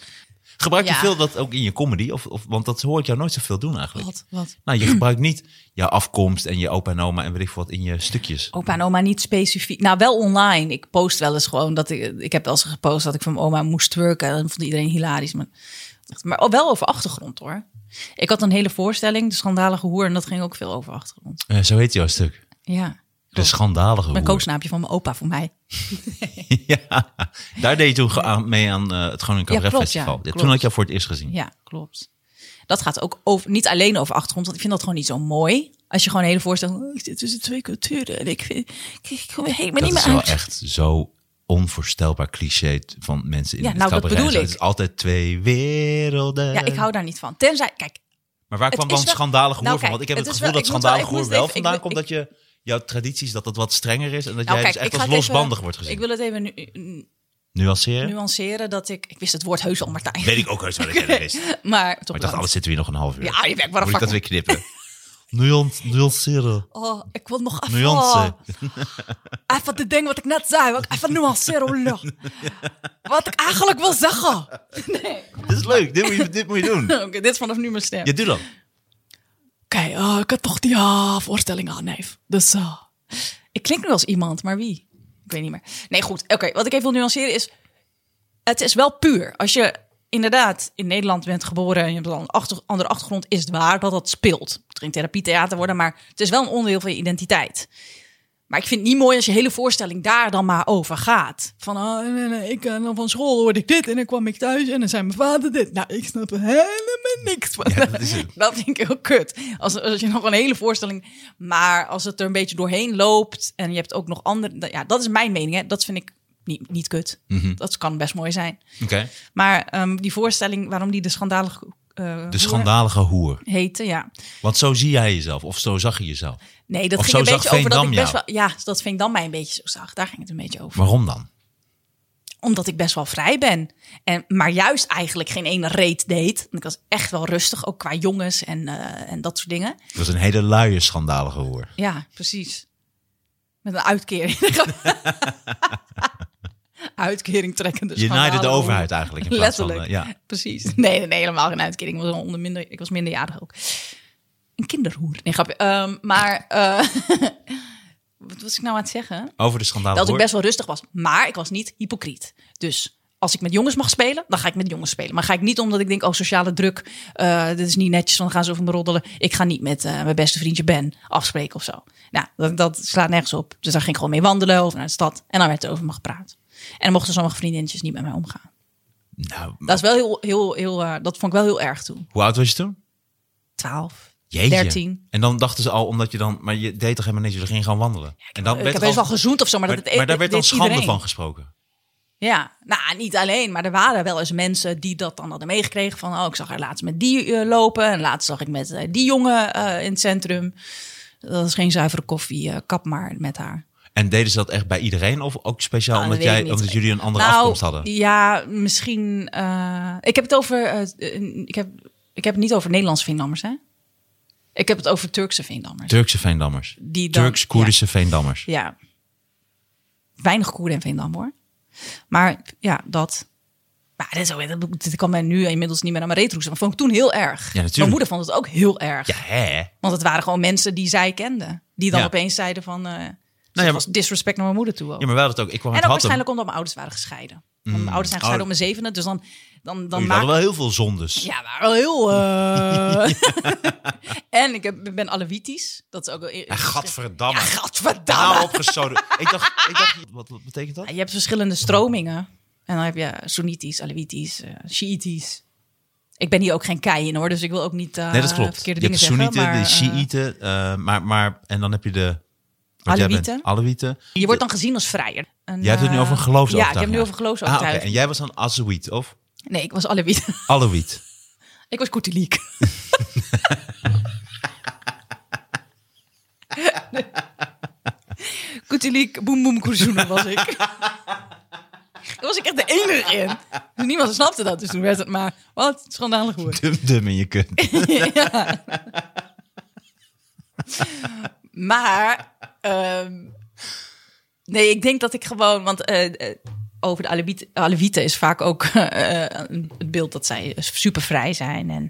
Speaker 2: Gebruik je
Speaker 3: Ja.
Speaker 2: veel dat ook in je comedy? Of, of, want dat hoor ik jou nooit zoveel doen eigenlijk.
Speaker 3: Wat, wat?
Speaker 2: Nou, je gebruikt niet jouw afkomst en je opa en oma en weet ik veel wat in je stukjes.
Speaker 3: Opa en oma niet specifiek. Nou, wel online. Ik post wel eens gewoon dat ik... Ik heb wel eens gepost dat ik van mijn oma moest twerken. Dat vond iedereen hilarisch. Maar, maar oh, wel over achtergrond, hoor. Ik had een hele voorstelling, De Schandalige Hoer. En dat ging ook veel over achtergrond.
Speaker 2: Eh, zo heet jouw stuk.
Speaker 3: Ja.
Speaker 2: De schandalige
Speaker 3: Mijn
Speaker 2: hoer.
Speaker 3: koosnaapje van mijn opa voor mij.
Speaker 2: ja, daar deed je toen ge- aan- mee aan eh, het Groningen Cabaret
Speaker 3: klopt, ja,
Speaker 2: Festival. Ja,
Speaker 3: klopt.
Speaker 2: toen had ik jou voor het eerst gezien.
Speaker 3: Ja, klopt. Dat gaat ook over, niet alleen over achtergrond. Want ik vind dat gewoon niet zo mooi. Als je gewoon een hele voorstelling... Oh, ik zit tussen twee culturen. En ik, vind, ik, ik kom er helemaal
Speaker 2: dat
Speaker 3: niet
Speaker 2: is
Speaker 3: meer
Speaker 2: wel
Speaker 3: uit.
Speaker 2: echt zo onvoorstelbaar cliché t- van mensen in
Speaker 3: Ja,
Speaker 2: het
Speaker 3: nou, dat
Speaker 2: cabaret.
Speaker 3: bedoel
Speaker 2: Zo,
Speaker 3: ik.
Speaker 2: Het is altijd twee werelden.
Speaker 3: Ja, ik hou daar niet van. Tenzij... Kijk, nou,
Speaker 2: Maar waar
Speaker 3: Het
Speaker 2: kwam
Speaker 3: is
Speaker 2: dan
Speaker 3: wel-
Speaker 2: schandalig hoer
Speaker 3: Nou,
Speaker 2: van?
Speaker 3: kijk,
Speaker 2: Want ik heb het,
Speaker 3: het is
Speaker 2: gevoel
Speaker 3: wel-
Speaker 2: dat
Speaker 3: ik moet wel- ik
Speaker 2: schandalig
Speaker 3: moet
Speaker 2: hoer
Speaker 3: even-
Speaker 2: wel
Speaker 3: ik
Speaker 2: vandaan
Speaker 3: wil-
Speaker 2: komt
Speaker 3: ik-
Speaker 2: dat je jouw tradities dat dat wat strenger is en dat
Speaker 3: Nou,
Speaker 2: jij
Speaker 3: kijk,
Speaker 2: dus echt
Speaker 3: ik ga
Speaker 2: als
Speaker 3: het even-
Speaker 2: losbandig wordt gezien.
Speaker 3: Ik wil het even nu,
Speaker 2: Nuanceren?
Speaker 3: nuanceren dat ik... Ik wist het woord heus al, Martijn.
Speaker 2: Weet ik ook heus wel dat jij dat wist. Maar
Speaker 3: Maar toch
Speaker 2: ik dacht,
Speaker 3: bedankt.
Speaker 2: alles zitten we hier nog een half uur.
Speaker 3: Ja, je werkt maar een
Speaker 2: Moet ik dat weer
Speaker 3: vak.
Speaker 2: knippen? Nuance, nuanceren.
Speaker 3: Oh, ik wil nog even...
Speaker 2: Nuance.
Speaker 3: Even de ding wat ik net zei. Wat ik even nuanceren. hoor, lul. Wat ik eigenlijk wil zeggen. Nee.
Speaker 2: Dit is leuk. Dit moet je, dit moet je doen.
Speaker 3: Oké, dit is vanaf nu mijn stem.
Speaker 2: Ja, doe dan.
Speaker 3: Oké, eh, ik had toch die eh, voorstelling aan, neef. Dus eh, ik klink nu als iemand, maar wie? Ik weet niet meer. Nee, goed. Oké, wat ik even wil nuanceren is... Het is wel puur. Als je inderdaad in Nederland bent geboren... en je hebt dan een achter- andere achtergrond... is het waar dat dat speelt. Het ging therapietheater worden, maar het is wel een onderdeel van je identiteit. Maar ik vind het niet mooi als je hele voorstelling daar dan maar over gaat. Van, oh, nee, nee, ik eh, van school hoorde ik dit en dan kwam ik thuis en dan zei mijn vader dit. Nou, ik snap er helemaal niks van.
Speaker 2: dat is het.
Speaker 3: Dat vind ik heel kut. Als, als je nog een hele voorstelling. Maar als het er een beetje doorheen loopt. En je hebt ook nog andere. dat- Ja, dat is mijn mening. Hè. Dat vind ik niet, niet kut.
Speaker 2: Mhm.
Speaker 3: Dat kan best mooi zijn.
Speaker 2: Oké.
Speaker 3: Maar ehm, die voorstelling, waarom die de schandalige. eh,
Speaker 2: De schandalige hoer.
Speaker 3: Heette, ja.
Speaker 2: Want zo zie jij jezelf. Of zo zag je jezelf.
Speaker 3: Nee, dat
Speaker 2: Of
Speaker 3: ging
Speaker 2: zo
Speaker 3: een
Speaker 2: zag
Speaker 3: beetje over dat ik
Speaker 2: Veendam
Speaker 3: best wel. Ja, dat Veendam mij een beetje zo zag. Daar ging het een beetje over.
Speaker 2: Waarom dan?
Speaker 3: Omdat ik best wel vrij ben. En, maar juist eigenlijk geen ene reet deed. Want ik was echt wel rustig, ook qua jongens en, eh, en dat soort dingen.
Speaker 2: Het was een hele luie schandalige hoer.
Speaker 3: Ja, precies. Met een uitkering. uitkering trekken. Dus
Speaker 2: Je naaide de
Speaker 3: schandalen.
Speaker 2: overheid eigenlijk. In plaats
Speaker 3: Letterlijk.
Speaker 2: Van, eh, ja.
Speaker 3: Precies. Nee, nee, nee, helemaal geen uitkering. Ik was, onder minder, ik was minderjarig ook. Een kinderhoer. Nee, grapje. Ehm, maar eh, wat was ik nou aan het zeggen?
Speaker 2: Over de schandalige
Speaker 3: Dat ik
Speaker 2: hoer.
Speaker 3: best wel rustig was. Maar ik was niet hypocriet. Dus als ik met jongens mag spelen, dan ga ik met jongens spelen. Maar ga ik niet omdat ik denk, oh, sociale druk. eh, dit is niet netjes, want dan gaan ze over me roddelen. Ik ga niet met eh, mijn beste vriendje Ben afspreken of zo. Nou, dat, dat slaat nergens op. Dus daar ging ik gewoon mee wandelen of naar de stad. En dan werd er over me gepraat. En dan mochten sommige vriendinnetjes niet met mij omgaan.
Speaker 2: Nou,
Speaker 3: Dat, is wel heel, heel, heel, eh, dat vond ik wel heel erg toen.
Speaker 2: hoe oud was je toen?
Speaker 3: 12,
Speaker 2: Jeetje.
Speaker 3: 13.
Speaker 2: En dan dachten ze al, omdat je dan... Maar je deed toch helemaal niks? Je ging gewoon wandelen. en dan
Speaker 3: ik
Speaker 2: werd
Speaker 3: heb
Speaker 2: er
Speaker 3: best wel
Speaker 2: al-
Speaker 3: gezoend of zo, maar,
Speaker 2: Maar,
Speaker 3: dat het
Speaker 2: maar daar werd dan
Speaker 3: dit
Speaker 2: schande
Speaker 3: iedereen.
Speaker 2: van gesproken.
Speaker 3: Ja, nou niet alleen, maar er waren wel eens mensen die dat dan hadden meegekregen. Van, oh, ik zag haar laatst met die eh, lopen en laatst zag ik met eh, die jongen eh, in het centrum. Dat is geen zuivere koffie, eh, kap maar met haar.
Speaker 2: En deden ze dat echt bij iedereen? Of ook speciaal
Speaker 3: Nou, dat
Speaker 2: omdat,
Speaker 3: weet ik
Speaker 2: jij,
Speaker 3: niet.
Speaker 2: omdat jullie een andere
Speaker 3: Nou,
Speaker 2: afkomst hadden?
Speaker 3: Ja, misschien. eh, ik heb het over. eh, ik, heb, ik heb het niet over Nederlandse Veendammers, hè? Ik heb het over Turkse Veendammers.
Speaker 2: Turkse Veendammers.
Speaker 3: Die dan-
Speaker 2: Turks-Koerdische Veendammers.
Speaker 3: Ja. Weinig Koerden en Veendam hoor. Maar ja, dat. Maar dit, is ook, dat- dit kan mij nu inmiddels niet meer aan mijn reet roesten. Maar vond ik toen heel erg.
Speaker 2: natuurlijk.
Speaker 3: Mijn moeder vond het ook heel erg.
Speaker 2: Ja, hè?
Speaker 3: Want het waren gewoon mensen die zij kenden. Die dan
Speaker 2: Ja.
Speaker 3: opeens zeiden van... eh nou,
Speaker 2: ja,
Speaker 3: was disrespect naar mijn moeder toe ook.
Speaker 2: Ja, maar wel dat ook. Ik kwam
Speaker 3: en
Speaker 2: uit
Speaker 3: ook
Speaker 2: Hattem.
Speaker 3: waarschijnlijk omdat mijn ouders waren gescheiden. Want Mijn ouders zijn
Speaker 2: Oh.
Speaker 3: gescheiden om mijn zevende. Dus dan, dan, dan
Speaker 2: Jullie
Speaker 3: maak
Speaker 2: hadden wel heel veel zondes.
Speaker 3: ja, maar wel heel... eh. en ik heb, ik ben Alawitisch. Dat is ook wel...
Speaker 2: Ja, gadverdamme.
Speaker 3: Ja, gadverdamme.
Speaker 2: Daarna opgezoden. Nou, ik, dacht, ik dacht, wat, wat betekent dat?
Speaker 3: Nou, Je hebt verschillende stromingen. En dan heb je Soenitisch, Alawitisch, eh Shiïtisch. Ik ben hier ook geen kei in hoor, dus ik wil ook niet eh
Speaker 2: Nee, dat klopt. Je
Speaker 3: verkeerde
Speaker 2: hebt
Speaker 3: dingen
Speaker 2: de Soenieten,
Speaker 3: zeggen.
Speaker 2: de
Speaker 3: maar, eh,
Speaker 2: Shiiten, eh, maar, maar, en dan heb je de... wat jij bent,
Speaker 3: Alawieten.
Speaker 2: Alawieten.
Speaker 3: Je wordt dan gezien als vrijer. En,
Speaker 2: Jij hebt het nu
Speaker 3: eh,
Speaker 2: over een geloofsovertuiging.
Speaker 3: Ja, ik heb nu
Speaker 2: ja.
Speaker 3: over een geloofsovertuiging.
Speaker 2: Ah, oké. En jij was dan Azuit, of?
Speaker 3: Nee, ik was Alawiet.
Speaker 2: Alawiet.
Speaker 3: ik was Koeteliek. Koeteliek, boem boem koerzoenen was ik. Daar was ik echt de enige in. Dus niemand snapte dat, dus toen werd het maar... Wat, schandalig hoor.
Speaker 2: Dum dum in je kunt.
Speaker 3: Maar, ehm, nee, ik denk dat ik gewoon, want eh, eh, over de Alewieten, Alewieten is vaak ook eh, het beeld dat zij super vrij zijn en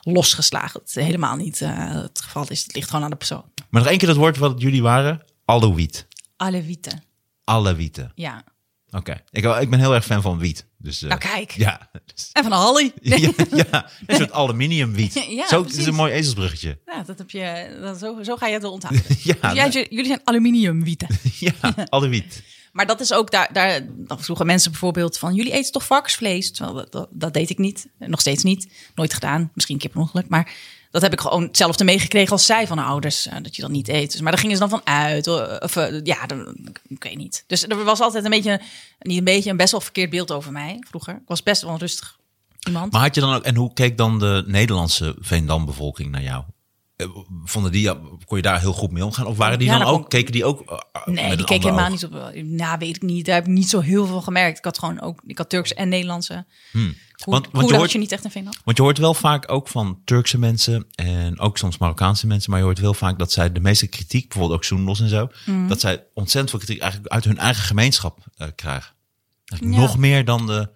Speaker 3: losgeslagen. Dat is helemaal niet eh, het geval is. Het ligt gewoon aan de persoon.
Speaker 2: Maar nog één keer dat woord wat jullie waren. Alawiet.
Speaker 3: Alewieten,
Speaker 2: Alawieten.
Speaker 3: ja.
Speaker 2: Oké. Ik, ik ben heel erg fan van wiet. Dus, eh,
Speaker 3: Nou, kijk.
Speaker 2: Ja. Dus-
Speaker 3: En van Hallie.
Speaker 2: ja, ja, een soort aluminiumwiet.
Speaker 3: Ja,
Speaker 2: Zo, het is
Speaker 3: precies.
Speaker 2: een mooi ezelsbruggetje.
Speaker 3: Ja, dat heb je, dat, zo, zo ga je het wel onthouden.
Speaker 2: Ja, nou.
Speaker 3: Dus jij- jullie zijn aluminiumwieten.
Speaker 2: Ja, alawiet.
Speaker 3: Maar dat is ook daar, daar dan vroegen mensen bijvoorbeeld van jullie eten toch varkensvlees? Terwijl dat, dat, dat deed ik niet, nog steeds niet, nooit gedaan, misschien een keer per ongeluk, maar dat heb ik gewoon hetzelfde meegekregen als zij van haar ouders eh, dat je dat niet eet. Dus, maar daar gingen ze dan van uit, eh, of eh, ja, dan- ik weet niet. Dus er was altijd een beetje, niet een beetje, een best wel verkeerd beeld over mij vroeger. Ik was best wel een rustig iemand.
Speaker 2: Maar had je dan ook, en hoe keek dan de Nederlandse Veendambevolking naar jou? eh, vonden die, kon je daar heel goed mee omgaan? Of waren die
Speaker 3: Ja,
Speaker 2: dan
Speaker 3: dat
Speaker 2: ook,
Speaker 3: kon-
Speaker 2: keken die ook eh, met
Speaker 3: Nee, die
Speaker 2: een
Speaker 3: keek
Speaker 2: ander
Speaker 3: helemaal
Speaker 2: oog?
Speaker 3: niet op. Nou, weet ik niet. Daar heb ik niet zo heel veel gemerkt. Ik had gewoon ook. Ik had Turks en Nederlandse. Hoe,
Speaker 2: Hmm. Want- want je
Speaker 3: je
Speaker 2: hoort-
Speaker 3: je niet echt in Finland?
Speaker 2: Want je hoort wel vaak ook van Turkse mensen en ook soms Marokkaanse mensen, maar je hoort heel vaak dat zij de meeste kritiek, bijvoorbeeld ook Soenlos en zo,
Speaker 3: Mm.
Speaker 2: dat zij ontzettend veel kritiek eigenlijk uit hun eigen gemeenschap eh, krijgen. Eigenlijk
Speaker 3: Ja.
Speaker 2: Nog meer dan de,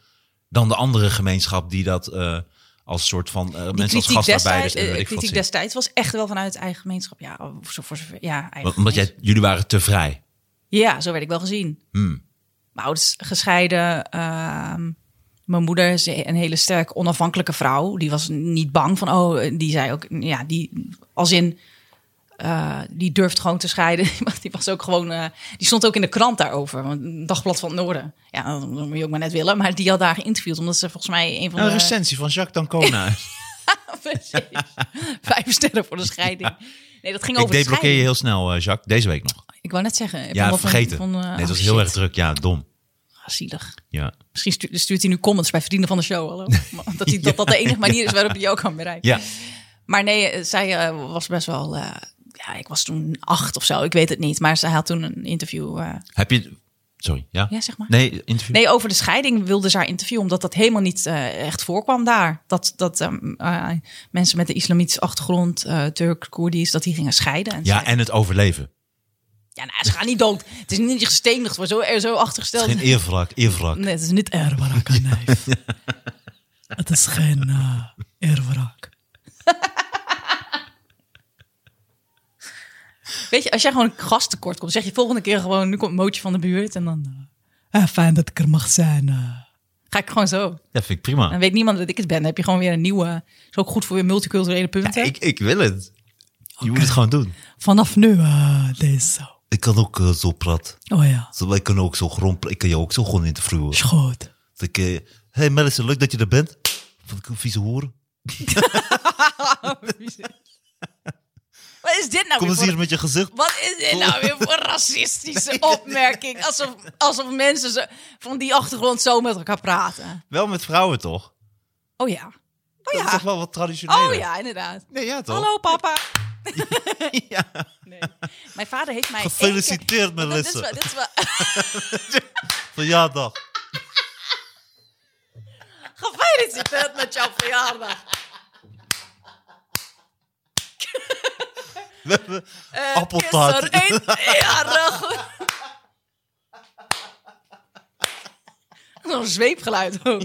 Speaker 2: dan de andere gemeenschap die dat eh, als soort van eh,
Speaker 3: Die
Speaker 2: mensen als
Speaker 3: kritiek
Speaker 2: gastarbeiders
Speaker 3: destijds,
Speaker 2: en
Speaker 3: eh,
Speaker 2: weet ik wat
Speaker 3: kritiek
Speaker 2: zien.
Speaker 3: destijds was echt wel vanuit eigen gemeenschap. Ja, of zo voor zover. Ja, eigen
Speaker 2: Want- Omdat jij, jullie waren te vrij.
Speaker 3: Ja, zo werd ik wel gezien.
Speaker 2: Hmm.
Speaker 3: Mijn ouders gescheiden. ehm, mijn moeder is een hele sterk onafhankelijke vrouw. Die was niet bang van, oh, eh, die zei ook, ja, die als in, eh, die durft gewoon te scheiden. Want die was ook gewoon, eh, die stond ook in de krant daarover, want een dagblad van het Noorden. Ja, dat moet je ook maar net willen. Maar die had daar geïnterviewd, omdat ze volgens mij een van
Speaker 2: Een
Speaker 3: de
Speaker 2: recensie van Jacques Dancona.
Speaker 3: Precies. vijf sterren voor de scheiding. Nee, dat ging
Speaker 2: ik
Speaker 3: over de
Speaker 2: deblokkeer
Speaker 3: scheiding.
Speaker 2: je heel snel, eh, Jacques, deze week nog.
Speaker 3: Ik wou net zeggen. ik
Speaker 2: Ja,
Speaker 3: vond dat een-
Speaker 2: vergeten.
Speaker 3: vond, eh,
Speaker 2: nee, het was
Speaker 3: oh,
Speaker 2: heel
Speaker 3: shit.
Speaker 2: erg druk. Ja, dom.
Speaker 3: Ah, Zielig.
Speaker 2: Ja.
Speaker 3: Misschien stu- stuurt hij nu comments bij Verdienen van de Show. Hallo. Maar Dat, hij, dat dat de enige manier is waarop hij jou kan bereiken.
Speaker 2: ja.
Speaker 3: Maar nee, eh, zij eh, was best wel. eh, ja, ik was toen acht of zo, ik weet het niet. Maar zij had toen een interview. eh,
Speaker 2: Heb je... Sorry, ja?
Speaker 3: Ja, zeg maar.
Speaker 2: Nee, interview.
Speaker 3: nee, over de scheiding wilde ze haar interviewen, omdat dat helemaal niet eh, echt voorkwam daar. Dat, dat ehm, eh, mensen met een islamitische achtergrond, eh, Turk, Koerdisch, dat die gingen scheiden. En
Speaker 2: Ja,
Speaker 3: zij-
Speaker 2: en het overleven.
Speaker 3: ja nou, ze gaan niet dood. Het is niet dat je gestenigd wordt, zo, er zo achtergesteld.
Speaker 2: Geen eerwrak, eerwrak.
Speaker 3: Nee, het is niet erwrak, een neef. Het is geen uh, erwrak. Weet je, als jij gewoon een gast tekort komt, zeg je volgende keer gewoon, nu komt Mootje van de buurt en dan... eh, ah, fijn dat ik er mag zijn. eh. Ga ik gewoon zo.
Speaker 2: Dat vind ik prima.
Speaker 3: Dan weet niemand dat ik het ben. Dan heb je gewoon weer een nieuwe... Is ook goed voor je multiculturele punten.
Speaker 2: Ja, ik, ik wil het. Je moet het gewoon doen.
Speaker 3: Vanaf nu, eh, deze zo.
Speaker 2: Ik kan ook eh, zo praten.
Speaker 3: Oh ja,
Speaker 2: Zo, Wij kunnen ook zo grond. Ik kan jou ook zo gewoon interviewen.
Speaker 3: is goed.
Speaker 2: Dat ik, eh, hey Madison, leuk dat je er bent. Vond ik een vieze hoer.
Speaker 3: Wat is dit nou
Speaker 2: Kom
Speaker 3: weer
Speaker 2: eens
Speaker 3: voor-
Speaker 2: hier met je gezicht.
Speaker 3: Wat is dit nou weer voor racistische opmerking? Alsof, alsof mensen zo, van die achtergrond zo met elkaar praten.
Speaker 2: Wel met vrouwen toch?
Speaker 3: Oh ja. Oh
Speaker 2: Dat is toch
Speaker 3: ja.
Speaker 2: wel wat traditioneel.
Speaker 3: Oh ja, inderdaad.
Speaker 2: Nee, ja toch?
Speaker 3: Hallo papa.
Speaker 2: Ja.
Speaker 3: Nee. Mijn vader heeft mij. één keer-
Speaker 2: Gefeliciteerd
Speaker 3: Dat is wel-
Speaker 2: Melissa.
Speaker 3: dit is wel-
Speaker 2: Verjaardag.
Speaker 3: Gefeliciteerd met jouw verjaardag.
Speaker 2: We hebben
Speaker 3: Eh,
Speaker 2: appeltaart.
Speaker 3: is er één jarig. Zo'n zweepgeluid ook.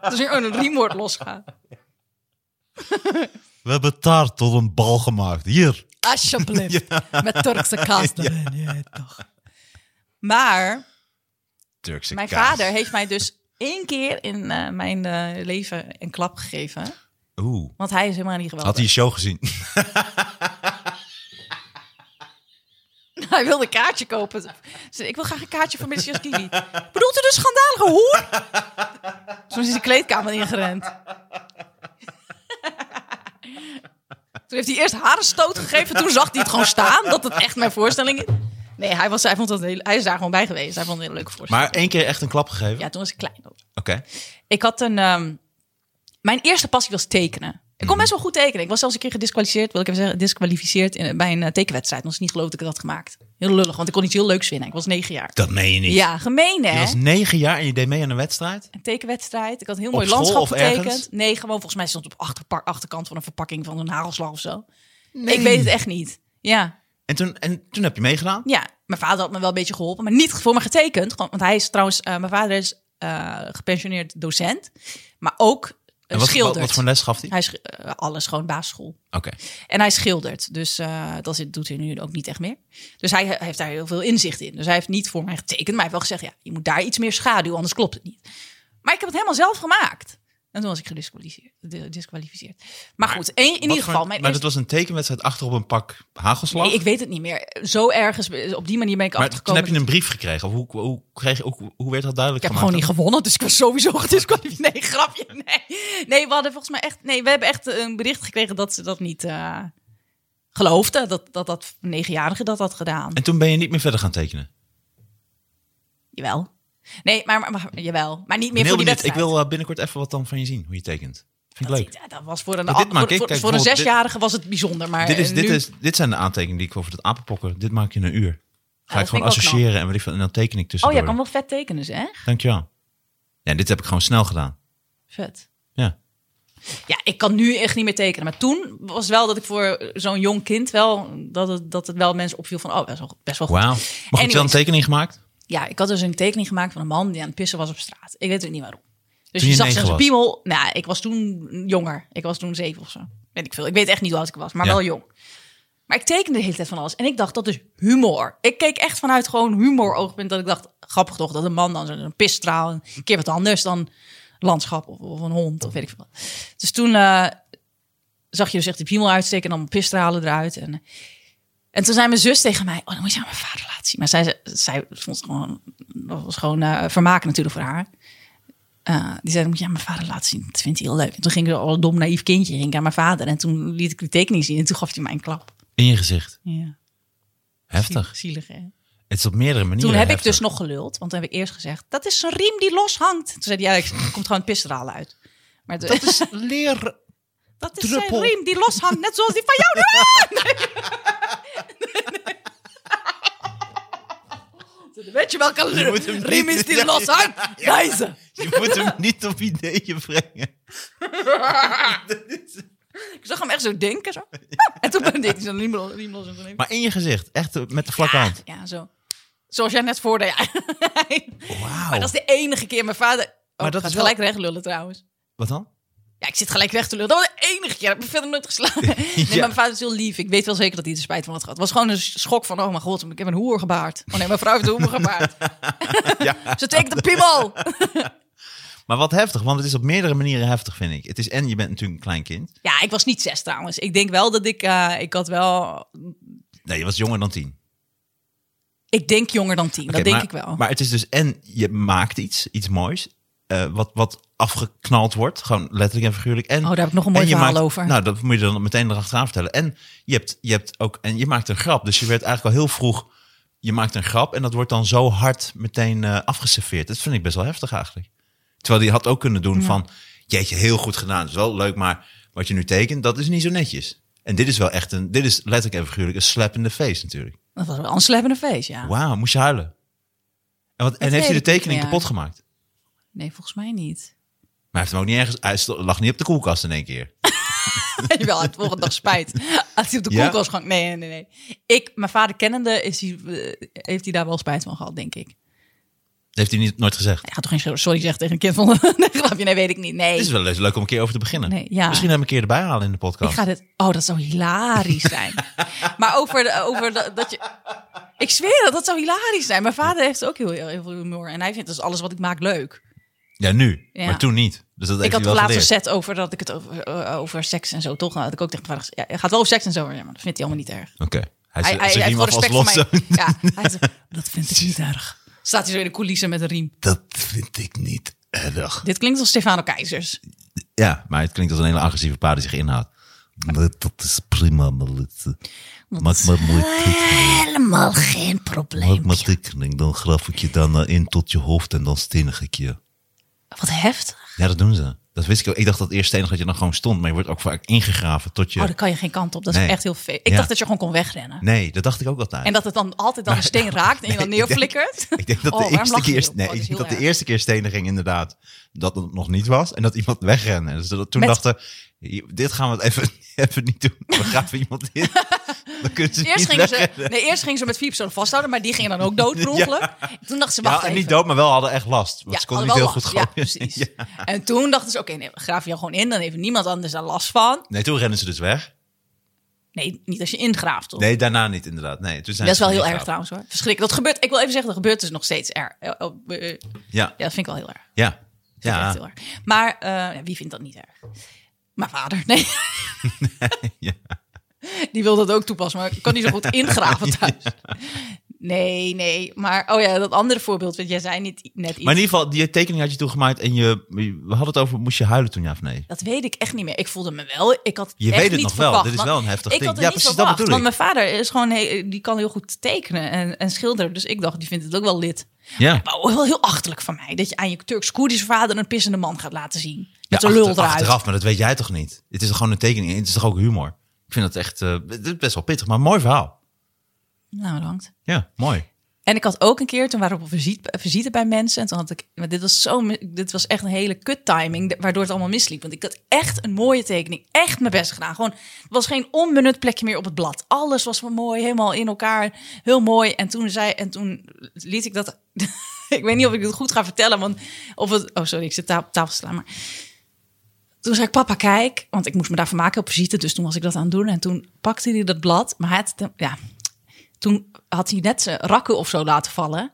Speaker 3: Als er oh, een riem wordt losgaan.
Speaker 2: We hebben taart tot een bal gemaakt. Hier.
Speaker 3: Alsjeblieft. Met Turkse kaas erin. Ja, toch. Maar
Speaker 2: Turkse
Speaker 3: mijn
Speaker 2: kaas.
Speaker 3: vader heeft mij dus één keer in eh, mijn eh, leven een klap gegeven.
Speaker 2: Oeh.
Speaker 3: Want hij is helemaal niet
Speaker 2: Had
Speaker 3: geweldig.
Speaker 2: hij je
Speaker 3: Hij...
Speaker 2: show gezien?
Speaker 3: wilde een kaartje kopen. Ze zei, ik wil graag een kaartje voor Miss Jaskini. Bedoelt u de schandalige hoer? Toen is de kleedkamer ingerend. Toen heeft hij eerst haar een stoot gegeven. Toen zag hij het gewoon staan. Dat het echt mijn voorstelling is. Nee, hij, was, hij, vond dat heel, hij is daar gewoon bij geweest. Hij vond het een hele leuke voorstelling.
Speaker 2: Maar één keer echt een klap gegeven?
Speaker 3: Ja, toen was ik klein.
Speaker 2: Oké.
Speaker 3: Ik had een. ehm, mijn eerste passie was tekenen. Ik kon best wel goed tekenen. Ik was zelfs een keer gedisqualificeerd, wil ik even zeggen, disqualificeerd in, bij een eh, tekenwedstrijd. Omdat ze niet geloofde dat ik dat had gemaakt. Heel lullig, want ik kon iets heel leuks vinden. Ik was negen jaar.
Speaker 2: Dat meen je niet.
Speaker 3: Ja, gemeen hè?
Speaker 2: Je was negen jaar en je deed mee aan een wedstrijd?
Speaker 3: Een tekenwedstrijd. Ik had een heel mooi
Speaker 2: school
Speaker 3: landschap
Speaker 2: of
Speaker 3: getekend.
Speaker 2: ergens?
Speaker 3: Nee, gewoon volgens mij stond het op achterpa- achterkant van een verpakking van een hagelslag of zo. Ik weet het echt niet. Ja,
Speaker 2: En toen, en toen heb je meegedaan?
Speaker 3: Ja, mijn vader had me wel een beetje geholpen, maar niet voor me getekend. Gewoon, want hij is trouwens, eh, mijn vader is eh, gepensioneerd docent, maar ook
Speaker 2: En
Speaker 3: uh,
Speaker 2: wat,
Speaker 3: schildert.
Speaker 2: wat, wat voor les gaf hij?
Speaker 3: Hij is eh, alles gewoon basisschool.
Speaker 2: Oké.
Speaker 3: En hij schildert, dus eh, dat is- doet hij nu ook niet echt meer. Dus hij, he- heeft daar heel veel inzicht in. Dus hij heeft niet voor mij getekend, maar hij heeft wel gezegd, ja, je moet daar iets meer schaduw, anders klopt het niet. Maar ik heb het helemaal zelf gemaakt. En toen was ik gedisqualificeerd. de- disqualificeerd. Maar, goed, in, in ieder geval.
Speaker 2: Maar
Speaker 3: Mijn
Speaker 2: dat
Speaker 3: eerste-
Speaker 2: was een tekenwedstrijd achter op een pak hagelslag?
Speaker 3: Nee, ik weet het niet meer. Zo ergens, op die manier ben ik
Speaker 2: maar toen
Speaker 3: achtergekomen.
Speaker 2: heb je een brief gekregen. Of hoe, hoe, kreeg, je- hoe, hoe werd dat duidelijk
Speaker 3: Ik heb gewoon
Speaker 2: gemaakt?
Speaker 3: niet gewonnen, dus ik was sowieso gedisqualificeerd. Nee, grapje. Nee. nee, we hadden volgens mij echt. Nee, we hebben echt een bericht gekregen dat ze dat niet eh geloofden. Dat dat, dat negenjarige dat had gedaan.
Speaker 2: En toen ben je niet meer verder gaan tekenen?
Speaker 3: Jawel. Nee, maar, maar, maar- jawel. Maar niet
Speaker 2: Ik ben
Speaker 3: meer voor die
Speaker 2: heel benieuwd.
Speaker 3: wedstrijd.
Speaker 2: Ik wil eh, binnenkort even wat dan van je zien, hoe je tekent. Vind ik
Speaker 3: Dat,
Speaker 2: leuk.
Speaker 3: ja, dat was voor een,
Speaker 2: Maar dit
Speaker 3: voor,
Speaker 2: maak ik,
Speaker 3: voor-
Speaker 2: kijk,
Speaker 3: voor een
Speaker 2: bijvoorbeeld
Speaker 3: zesjarige was het bijzonder. Maar
Speaker 2: dit, is,
Speaker 3: eh,
Speaker 2: dit,
Speaker 3: nu-
Speaker 2: is, dit zijn de aantekeningen die ik over het apenpokken. Dit maak je in een uur. Ga
Speaker 3: dat
Speaker 2: ik gewoon
Speaker 3: vind ik ook
Speaker 2: associëren en, weet ik veel, en dan teken ik
Speaker 3: Oh,
Speaker 2: tussendoor.
Speaker 3: jij kan wel vet tekenen, zeg.
Speaker 2: Dankjewel. Ja, dit heb ik gewoon snel gedaan.
Speaker 3: Vet.
Speaker 2: Ja.
Speaker 3: Ja, ik kan nu echt niet meer tekenen. Maar toen was het wel dat ik voor zo'n jong kind wel... dat het, dat het wel mensen opviel van... oh, best wel, best wel goed.
Speaker 2: Wauw. Maar goed, je wel een
Speaker 3: Anyways.
Speaker 2: tekening gemaakt?
Speaker 3: Ja, ik had dus een tekening gemaakt van een man die aan het pissen was op straat. Ik weet ook niet waarom. Dus je
Speaker 2: Toen je
Speaker 3: zag
Speaker 2: negen
Speaker 3: zijn
Speaker 2: was?
Speaker 3: piemel. Nou, ik was toen jonger. Ik was toen zeven of zo. Weet ik veel. Ik weet echt niet hoe oud ik was, maar
Speaker 2: Ja.
Speaker 3: wel jong. Maar ik tekende de hele tijd van alles. En ik dacht, dat is humor. Ik keek echt vanuit gewoon humor-oogpunt. Dat ik dacht, grappig toch, dat een man dan zo'n pisstraal. Een keer wat anders dan landschap of, of een hond of weet ik veel. wat. Dus toen eh, zag je dus echt die piemel uitsteken en dan pisstralen eruit. En eh, en toen zei mijn zus tegen mij: Oh, dan moet je aan mijn vader laten zien. Maar zij, zij vond het gewoon, dat was gewoon eh vermaken natuurlijk voor haar. Eh, die zei: Dan moet je aan mijn vader laten zien. Dat vindt hij heel leuk. En toen ging ik al een dom naïef kindje ging ik aan mijn vader. En toen liet ik die tekening zien. En toen gaf hij mij een klap.
Speaker 2: In je gezicht.
Speaker 3: Ja.
Speaker 2: Heftig.
Speaker 3: Zielig, hè?
Speaker 2: Het is op meerdere manieren
Speaker 3: Toen heb ik
Speaker 2: heftig.
Speaker 3: dus nog geluld. Want toen heb ik eerst gezegd: Dat is een riem die loshangt. Toen zei hij: Ja, er komt gewoon pisteralen uit. Maar de- dat is,
Speaker 2: Leer... druppel.
Speaker 3: zijn riem die loshangt. Net zoals die van jou. nu. Weet je welke
Speaker 2: Je moet hem
Speaker 3: riem
Speaker 2: niet-
Speaker 3: is
Speaker 2: Ja,
Speaker 3: die loshangt? Deze.
Speaker 2: Je moet hem niet op ideeën brengen.
Speaker 3: Ik zag hem echt zo denken. Zo. En toen ben ik zo riem los- riem los en toen even-
Speaker 2: Maar in je gezicht. Echt met de vlakke hand.
Speaker 3: Ja, zo. Zoals jij net voordeed. Ja. Maar
Speaker 2: Wauw.
Speaker 3: dat is de enige keer mijn vader... Oh,
Speaker 2: Maar dat
Speaker 3: ik ga
Speaker 2: is wel-
Speaker 3: gelijk recht lullen trouwens.
Speaker 2: Wat dan?
Speaker 3: Ja, ik zit gelijk recht te lullen. Dat was de enige keer. Ik heb verder nooit geslagen. Nee, maar mijn vader is heel lief. Ik weet wel zeker dat hij er spijt van had gehad. Het was gewoon een schok van... Oh mijn god, ik heb een hoer gebaard. Oh nee, mijn vrouw heeft een hoer gebaard.
Speaker 2: Ja.
Speaker 3: Ze tekent een piemel.
Speaker 2: Maar wat heftig, want het is op meerdere manieren heftig, vind ik. Het is en je bent natuurlijk een klein kind.
Speaker 3: Ja, ik was niet zes trouwens. Ik denk wel dat ik... eh, ik had wel...
Speaker 2: Nee, je was jonger dan tien.
Speaker 3: Ik denk jonger dan tien. dat denk
Speaker 2: maar,
Speaker 3: ik wel.
Speaker 2: Maar het is dus en je maakt iets, iets moois, eh, wat, wat afgeknald wordt, gewoon letterlijk en figuurlijk. En,
Speaker 3: Oh, daar heb ik nog een mooi
Speaker 2: en je
Speaker 3: verhaal
Speaker 2: maakt-
Speaker 3: over.
Speaker 2: Nou, dat moet je dan meteen erachteraan vertellen. En je, hebt, je, hebt ook, en je maakt een grap, dus je werd eigenlijk al heel vroeg, je maakt een grap en dat wordt dan zo hard meteen eh afgeserveerd. Dat vind ik best wel heftig eigenlijk. Terwijl die had ook kunnen doen van, jeetje, heel goed gedaan, dat is wel leuk, maar wat je nu tekent, dat is niet zo netjes. En dit is wel echt een, dit is letterlijk en figuurlijk een slap in de face natuurlijk.
Speaker 3: Dat was wel een slappende feest, ja.
Speaker 2: Wauw, moest je huilen? En, wat, en
Speaker 3: weet
Speaker 2: heeft hij de
Speaker 3: ik niet
Speaker 2: tekening
Speaker 3: meer.
Speaker 2: kapot gemaakt?
Speaker 3: Nee, volgens mij niet.
Speaker 2: Maar hij heeft hem ook niet ergens... Hij sto- lag niet op de koelkast in één keer.
Speaker 3: Jawel, het volgende dag spijt. Als hij op de
Speaker 2: Ja?
Speaker 3: koelkast gang. Nee, nee, nee. Ik, mijn vader kennende, is hij, eh, heeft hij daar wel spijt van gehad, denk ik.
Speaker 2: Dat heeft hij niet, nooit gezegd.
Speaker 3: Hij gaat toch geen sorry zeggen tegen een kind van... nee, grapje, nee, weet ik niet. Nee.
Speaker 2: Het is wel eens leuk om een keer over te beginnen.
Speaker 3: Nee, ja.
Speaker 2: Misschien hem een keer erbij halen in de podcast.
Speaker 3: Ik ga dit. Oh, dat zou hilarisch zijn. maar over, de- over de- dat je. Ik zweer dat dat zou hilarisch zijn. Mijn vader heeft ook heel, heel veel humor. En hij vindt dus alles wat ik maak leuk.
Speaker 2: Ja, nu.
Speaker 3: Ja.
Speaker 2: Maar toen niet. Dus dat
Speaker 3: ik
Speaker 2: heeft
Speaker 3: had
Speaker 2: hij wel
Speaker 3: laatst een
Speaker 2: geleerd.
Speaker 3: set over dat ik het over, eh, over seks en zo toch. Dat ik ook tegen mijn vader. Ja, het gaat wel over seks en zo. maar Ja, maar dat vindt hij allemaal niet erg.
Speaker 2: Oké.
Speaker 3: Hij,
Speaker 2: Hij, hij,
Speaker 3: hij, hij heeft
Speaker 2: iemand
Speaker 3: gewoon
Speaker 2: als
Speaker 3: respect voor
Speaker 2: los.
Speaker 3: mij. Ja, hij zegt, dat vind ik niet erg. Staat hij zo in de coulissen met een riem.
Speaker 2: Dat vind ik niet erg.
Speaker 3: Dit klinkt als Stefano Keizers.
Speaker 2: Ja, maar het klinkt als een hele agressieve pa die zich inhoudt. Dat dat is prima, maar het, eh, Maak maar mooi tekening.
Speaker 3: Helemaal geen
Speaker 2: Maak
Speaker 3: probleem.
Speaker 2: maar tekening. Dan graf ik je daarna in tot je hoofd en dan stenig ik je.
Speaker 3: Wat heftig.
Speaker 2: Ja, dat doen ze. Dat wist ik ook. Ik dacht dat eerst stenig dat je dan gewoon stond, maar je wordt ook vaak ingegraven tot je.
Speaker 3: Oh, daar kan je geen kant op. Dat
Speaker 2: Nee.
Speaker 3: is echt heel veel. Ik
Speaker 2: Ja.
Speaker 3: dacht dat je gewoon kon wegrennen.
Speaker 2: Nee, dat dacht ik ook altijd.
Speaker 3: En dat het dan altijd dan een steen raakt en je dan
Speaker 2: Nee, ik denk-
Speaker 3: neerflikkert.
Speaker 2: Ik denk dat
Speaker 3: Oh,
Speaker 2: de
Speaker 3: waarom
Speaker 2: eerste
Speaker 3: lach je
Speaker 2: keer,
Speaker 3: hierop?
Speaker 2: nee,
Speaker 3: Oh,
Speaker 2: ik
Speaker 3: dat is heel
Speaker 2: denk dat de
Speaker 3: erg.
Speaker 2: eerste keer steniging inderdaad dat het nog niet was en dat iemand wegrende. En dus dat, toen
Speaker 3: Met-
Speaker 2: dachten, dit gaan we het even, even niet doen. We graven iemand in. Dan kunnen ze
Speaker 3: Eerst
Speaker 2: niet
Speaker 3: gingen, ze,
Speaker 2: wegrennen.
Speaker 3: nee, eerst gingen ze met vier personen vasthouden, maar die gingen dan ook dood per
Speaker 2: Ja.
Speaker 3: ongeluk. Toen dachten ze, wacht
Speaker 2: Ja, en
Speaker 3: even.
Speaker 2: niet dood, maar wel hadden echt last. Want
Speaker 3: Ja,
Speaker 2: ze konden niet
Speaker 3: hadden
Speaker 2: heel
Speaker 3: wel
Speaker 2: goed
Speaker 3: last.
Speaker 2: grappen.
Speaker 3: Ja, precies. En toen dachten ze, oké, nee, we graven jou gewoon in. Dan heeft niemand anders daar last van.
Speaker 2: Nee, toen rennen ze dus weg.
Speaker 3: Nee, niet als je ingraaft, toch?
Speaker 2: Nee, daarna niet inderdaad. Nee, toen
Speaker 3: Oh.
Speaker 2: zijn
Speaker 3: dat is
Speaker 2: ze
Speaker 3: wel heel
Speaker 2: ingegaan.
Speaker 3: erg trouwens, hoor. Verschrikkelijk. Dat gebeurt, ik wil even zeggen, dat gebeurt dus nog steeds er. eh, oh, eh, eh.
Speaker 2: Ja,
Speaker 3: Ja, dat vind ik wel heel erg.
Speaker 2: ja.
Speaker 3: Vind ik echt
Speaker 2: Ja,
Speaker 3: heel erg. Maar eh, ja, wie vindt dat niet erg? Mijn vader, nee.
Speaker 2: ja.
Speaker 3: Die wil dat ook toepassen, maar ik kan niet zo goed ingraven thuis. Nee, nee. Maar, oh ja, dat andere voorbeeld, want jij zei niet, net iets.
Speaker 2: Maar in ieder geval, die tekening had je toen gemaakt en je, we hadden het over, moest je huilen toen ja of nee?
Speaker 3: Dat weet ik echt niet meer. Ik voelde me wel. Ik had
Speaker 2: Je
Speaker 3: echt
Speaker 2: weet het
Speaker 3: niet
Speaker 2: nog wel.
Speaker 3: verwacht,
Speaker 2: Dit is
Speaker 3: want
Speaker 2: wel een heftig
Speaker 3: ik
Speaker 2: ding.
Speaker 3: Had het
Speaker 2: Ja,
Speaker 3: niet
Speaker 2: precies, dat
Speaker 3: verwacht,
Speaker 2: bedoel
Speaker 3: Want
Speaker 2: ik.
Speaker 3: mijn vader is gewoon, heel- die kan heel goed tekenen en, en schilderen. Dus ik dacht, die vindt het ook wel lid.
Speaker 2: Ja.
Speaker 3: Maar ook wel heel achterlijk van mij. Dat je aan je Turks-Koerdische vader een pissende man gaat laten zien. Met
Speaker 2: ja,
Speaker 3: een lul
Speaker 2: achter-
Speaker 3: eruit.
Speaker 2: Achteraf, maar dat weet jij toch niet? Het is toch gewoon een tekening. Het is toch ook humor? Ik vind dat echt eh, het is best wel pittig, maar een mooi verhaal.
Speaker 3: Nou, bedankt.
Speaker 2: Ja, mooi.
Speaker 3: En ik had ook een keer, toen waren we op visite, visite bij mensen. En toen had ik, maar dit was zo, mi- dit was echt een hele kut timing, de- waardoor het allemaal misliep. Want ik had echt een mooie tekening, echt mijn best gedaan. Gewoon, er was geen onbenut plekje meer op het blad. Alles was wel mooi, helemaal in elkaar, heel mooi. En toen zei, en toen liet ik dat, ik weet niet of ik het goed ga vertellen, want of het, oh sorry, ik zit ta- op tafel te slaan, maar toen zei ik, papa, kijk. Want ik moest me daarvoor maken op visite. Dus toen was ik dat aan het doen. En toen pakte hij dat blad. Maar het, ja, toen had hij net zijn rakken of zo laten vallen.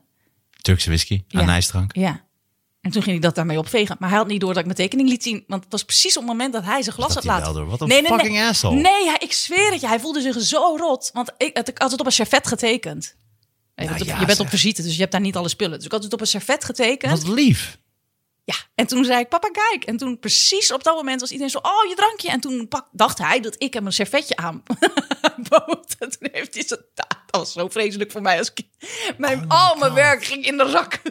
Speaker 2: Turkse whisky,
Speaker 3: Ja.
Speaker 2: anijsdrank.
Speaker 3: Ja. En toen ging hij dat daarmee opvegen. Maar hij had niet door dat ik mijn tekening liet zien. Want het was precies op het moment dat hij zijn glas
Speaker 2: Dat
Speaker 3: had
Speaker 2: hij
Speaker 3: laten...
Speaker 2: wel door. Wat een fucking
Speaker 3: nee.
Speaker 2: asshole.
Speaker 3: Nee, hij- ik zweer het je. Hij voelde zich zo rot. Want ik, het- ik had het op een servet getekend. Nee,
Speaker 2: Nou
Speaker 3: want
Speaker 2: ja,
Speaker 3: je bent
Speaker 2: zeg.
Speaker 3: op visite, dus je hebt daar niet alle spullen. Dus ik had het op een servet getekend.
Speaker 2: Wat lief.
Speaker 3: Ja, en toen zei ik, papa, kijk. En toen precies op dat moment was iedereen zo, oh, je drankje. En toen pak, dacht hij dat ik hem een servetje aan bood. En toen heeft hij zijn taart. Dat was zo vreselijk voor mij als kind. Mijn,
Speaker 2: Oh
Speaker 3: al mijn werk ging in de zak.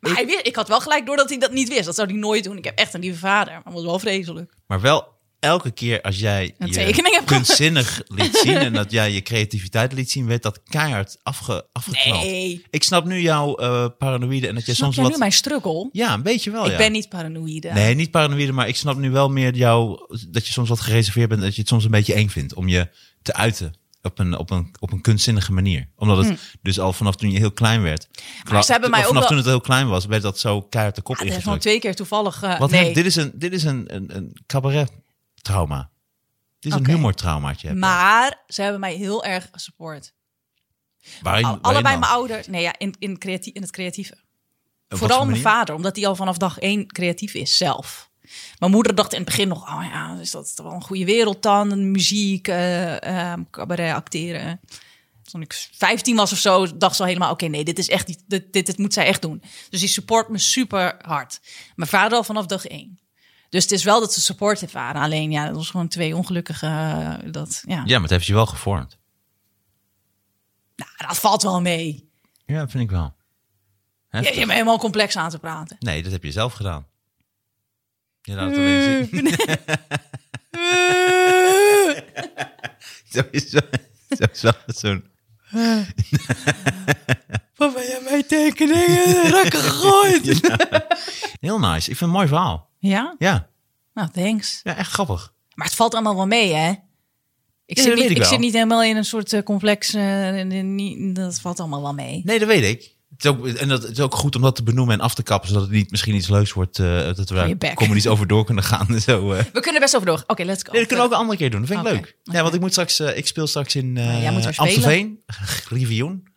Speaker 3: Maar hij wist, ik had wel gelijk door dat hij dat niet wist. Dat zou hij nooit doen. Ik heb echt een lieve vader. Maar het was wel vreselijk.
Speaker 2: Maar wel elke keer als jij
Speaker 3: Een
Speaker 2: je
Speaker 3: tekening hebt
Speaker 2: kunstzinnig liet zien en dat jij je creativiteit liet zien, werd dat keihard afge, afgeknald.
Speaker 3: Nee.
Speaker 2: Ik snap nu jouw eh, paranoïde en dat jij
Speaker 3: Snap
Speaker 2: Nou, soms
Speaker 3: jij
Speaker 2: wat...
Speaker 3: nu mijn struggle?
Speaker 2: Ja, een beetje wel, ja.
Speaker 3: Ik ben niet paranoïde.
Speaker 2: Nee, niet paranoïde, maar ik snap nu wel meer jou dat je soms wat gereserveerd bent, dat je het soms een beetje eng vindt om je te uiten op een, op een, op een kunstzinnige manier. Omdat het dus al vanaf toen je heel klein werd.
Speaker 3: Hm. ze hebben mij ook
Speaker 2: vanaf
Speaker 3: wel-
Speaker 2: toen het heel klein was, werd dat zo keihard de kop
Speaker 3: Ja, Ah, dat is gewoon
Speaker 2: ingedrukt.
Speaker 3: twee keer toevallig. eh,
Speaker 2: Wat
Speaker 3: nee.
Speaker 2: heb- dit is een, dit is een, een, een cabaret trauma. Dit is
Speaker 3: Oké.
Speaker 2: een humortraumaatje. heb je.
Speaker 3: Maar ze hebben mij heel erg gesupport.
Speaker 2: Waarin-
Speaker 3: Al-
Speaker 2: waarin
Speaker 3: allebei
Speaker 2: dan?
Speaker 3: mijn ouders. Nee, ja, in, in, creatie, in het creatieve.
Speaker 2: Op wat
Speaker 3: Vooral
Speaker 2: voor
Speaker 3: mijn
Speaker 2: manier?
Speaker 3: vader, omdat hij al vanaf dag één creatief is zelf. Mijn moeder dacht in het begin nog, oh ja, is dat wel een goede wereld dan? Muziek, eh, eh, cabaret, acteren. Toen ik 15 was of zo, dacht ze al helemaal, oké, nee, dit is echt niet, dit, dit, dit moet zij echt doen. Dus die support me super hard. Mijn vader al vanaf dag één. Dus het is wel dat ze supportive waren. Alleen ja, dat was gewoon twee ongelukkige. eh, Dat, ja.
Speaker 2: Ja, maar het heeft je wel gevormd.
Speaker 3: Nou, dat valt wel mee.
Speaker 2: Ja, vind ik wel.
Speaker 3: Je, je
Speaker 2: Heftig.
Speaker 3: bent helemaal complex aan te praten.
Speaker 2: Nee, dat heb je zelf gedaan. Je laat het
Speaker 3: Eh.
Speaker 2: alleen zien. Zo is zo- zo is wel zo'n...
Speaker 3: Papa, jij mij tekeningen rakken gegooid.
Speaker 2: Heel nice. Ik vind het een mooi verhaal.
Speaker 3: Ja?
Speaker 2: Ja,
Speaker 3: Nou, thanks.
Speaker 2: ja echt grappig.
Speaker 3: Maar het valt allemaal wel mee, hè? Ik,
Speaker 2: Ja,
Speaker 3: zit,
Speaker 2: dat weet
Speaker 3: niet,
Speaker 2: ik
Speaker 3: ik,
Speaker 2: wel.
Speaker 3: zit niet helemaal in een soort eh, complex. eh, en- en niet- dat valt allemaal wel mee.
Speaker 2: Nee, dat weet ik. Het is ook, en dat het is ook goed om dat te benoemen en af te kappen, zodat het niet misschien iets leuks wordt. eh, dat we
Speaker 3: je
Speaker 2: daar
Speaker 3: bek.
Speaker 2: comedies over door kunnen gaan. en Zo, eh.
Speaker 3: We kunnen best over door. Oké, let's go.
Speaker 2: Nee, dat kunnen we ook een andere keer doen. Dat vind ik
Speaker 3: Oké,
Speaker 2: leuk. Ja, want ik moet straks, eh, ik speel straks in eh
Speaker 3: Ja, jij moet weer spelen.
Speaker 2: Amstelveen. Rivion.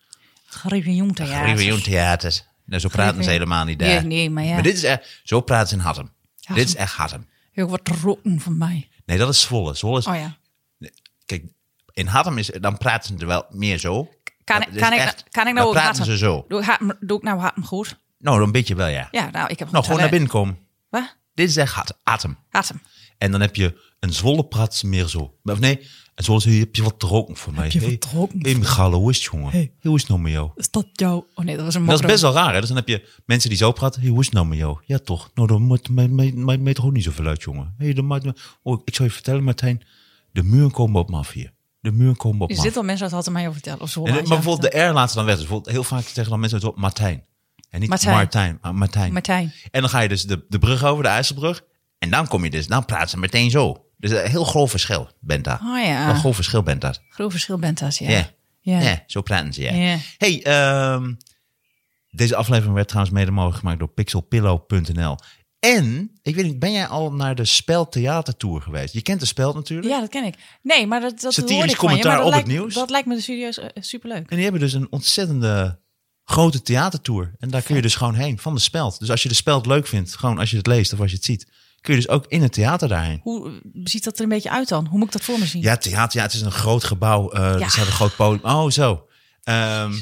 Speaker 3: Griffioen theater.
Speaker 2: Rivion Theater. Nou, zo praten ze
Speaker 3: Griffioen.
Speaker 2: helemaal niet daar.
Speaker 3: Nee, nee, maar ja.
Speaker 2: Maar dit is echt, zo praten ze in Hattem.
Speaker 3: Hattem.
Speaker 2: Dit is echt Hattem.
Speaker 3: Heel wat rotten van mij.
Speaker 2: Nee, dat is Zwolle. Zwolle is
Speaker 3: Oh ja.
Speaker 2: Kijk, in Hattem is, dan praten ze wel meer zo.
Speaker 3: Kan,
Speaker 2: Dat
Speaker 3: ik-
Speaker 2: is
Speaker 3: kan, ik,
Speaker 2: echt-
Speaker 3: kan ik
Speaker 2: dan
Speaker 3: nou ook
Speaker 2: praten
Speaker 3: haten?
Speaker 2: ze zo.
Speaker 3: Doe, ik haat me- doe ik nou haat me goed?
Speaker 2: Nou, dan beetje wel, ja.
Speaker 3: Ja, nou, ik heb
Speaker 2: nou, gewoon naar
Speaker 3: talent.
Speaker 2: binnen komen.
Speaker 3: Wat?
Speaker 2: Dit is echt hat- Hattem.
Speaker 3: Haat hem.
Speaker 2: En dan heb je een Zwolle praat meer zo. Of nee, een Zwolle zegt, heb je wat dronken voor mij? Heb
Speaker 3: je wat dronken
Speaker 2: Hey, Michale, hoe is het, jongen? Hoe is het nou met jou?
Speaker 3: Is dat jou? Oh nee, dat was een
Speaker 2: Dat is
Speaker 3: mokro.
Speaker 2: best wel raar, hè? Dus dan heb je mensen die zo praten. Hey, hoe is het nou met jou? Ja, toch? Nou, dan maakt mij- mij mij- mij toch ook niet zoveel uit, jongen. Hey, dan maakt me... oh, ik zou je vertellen, Martijn. De muren komen op me af hier. De muren komen op me
Speaker 3: Er
Speaker 2: af.
Speaker 3: zitten al mensen dat hadden mij over vertellen. Of zo.
Speaker 2: En, maar bijvoorbeeld de R laten ze dan weg. Dus bijvoorbeeld heel vaak zeggen dan mensen het woord Martijn. En niet Martijn,
Speaker 3: Martijn.
Speaker 2: maar Martijn.
Speaker 3: Martijn.
Speaker 2: En dan ga je dus de, de brug over, de IJsselbrug. En dan kom je dus, dan praten ze meteen zo. Dus een heel groot verschil bent daar.
Speaker 3: Oh ja.
Speaker 2: Een groot verschil bent dat.
Speaker 3: Groot verschil bent als
Speaker 2: Ah. Nou, Ja.
Speaker 3: ja.
Speaker 2: Ja.
Speaker 3: Ja.
Speaker 2: zo praten ze, ja.
Speaker 3: Ja.
Speaker 2: Hey, ehm, deze aflevering werd trouwens mede mogelijk gemaakt door pixelpillow.nl. En, ik weet niet, ben jij al naar de Speltheatertour geweest? Je kent de Speld natuurlijk.
Speaker 3: Ja, dat ken ik. Nee, maar dat, dat
Speaker 2: Satirisch
Speaker 3: hoorde ik van je,
Speaker 2: commentaar
Speaker 3: maar dat
Speaker 2: op het
Speaker 3: lijkt-
Speaker 2: nieuws.
Speaker 3: Dat lijkt me serieus eh, superleuk.
Speaker 2: En die hebben dus een ontzettende grote theatertour. En daar kun je dus gewoon heen, van de Speld. Dus als je de Speld leuk vindt, gewoon als je het leest of als je het ziet... kun je dus ook in het theater daarheen.
Speaker 3: Hoe eh, ziet dat er een beetje uit dan? Hoe moet ik dat voor me zien?
Speaker 2: Ja, theater, ja, het is een groot gebouw. eh,
Speaker 3: Ja.
Speaker 2: Dus ze hebben een groot podium. Oh, zo. Ehm,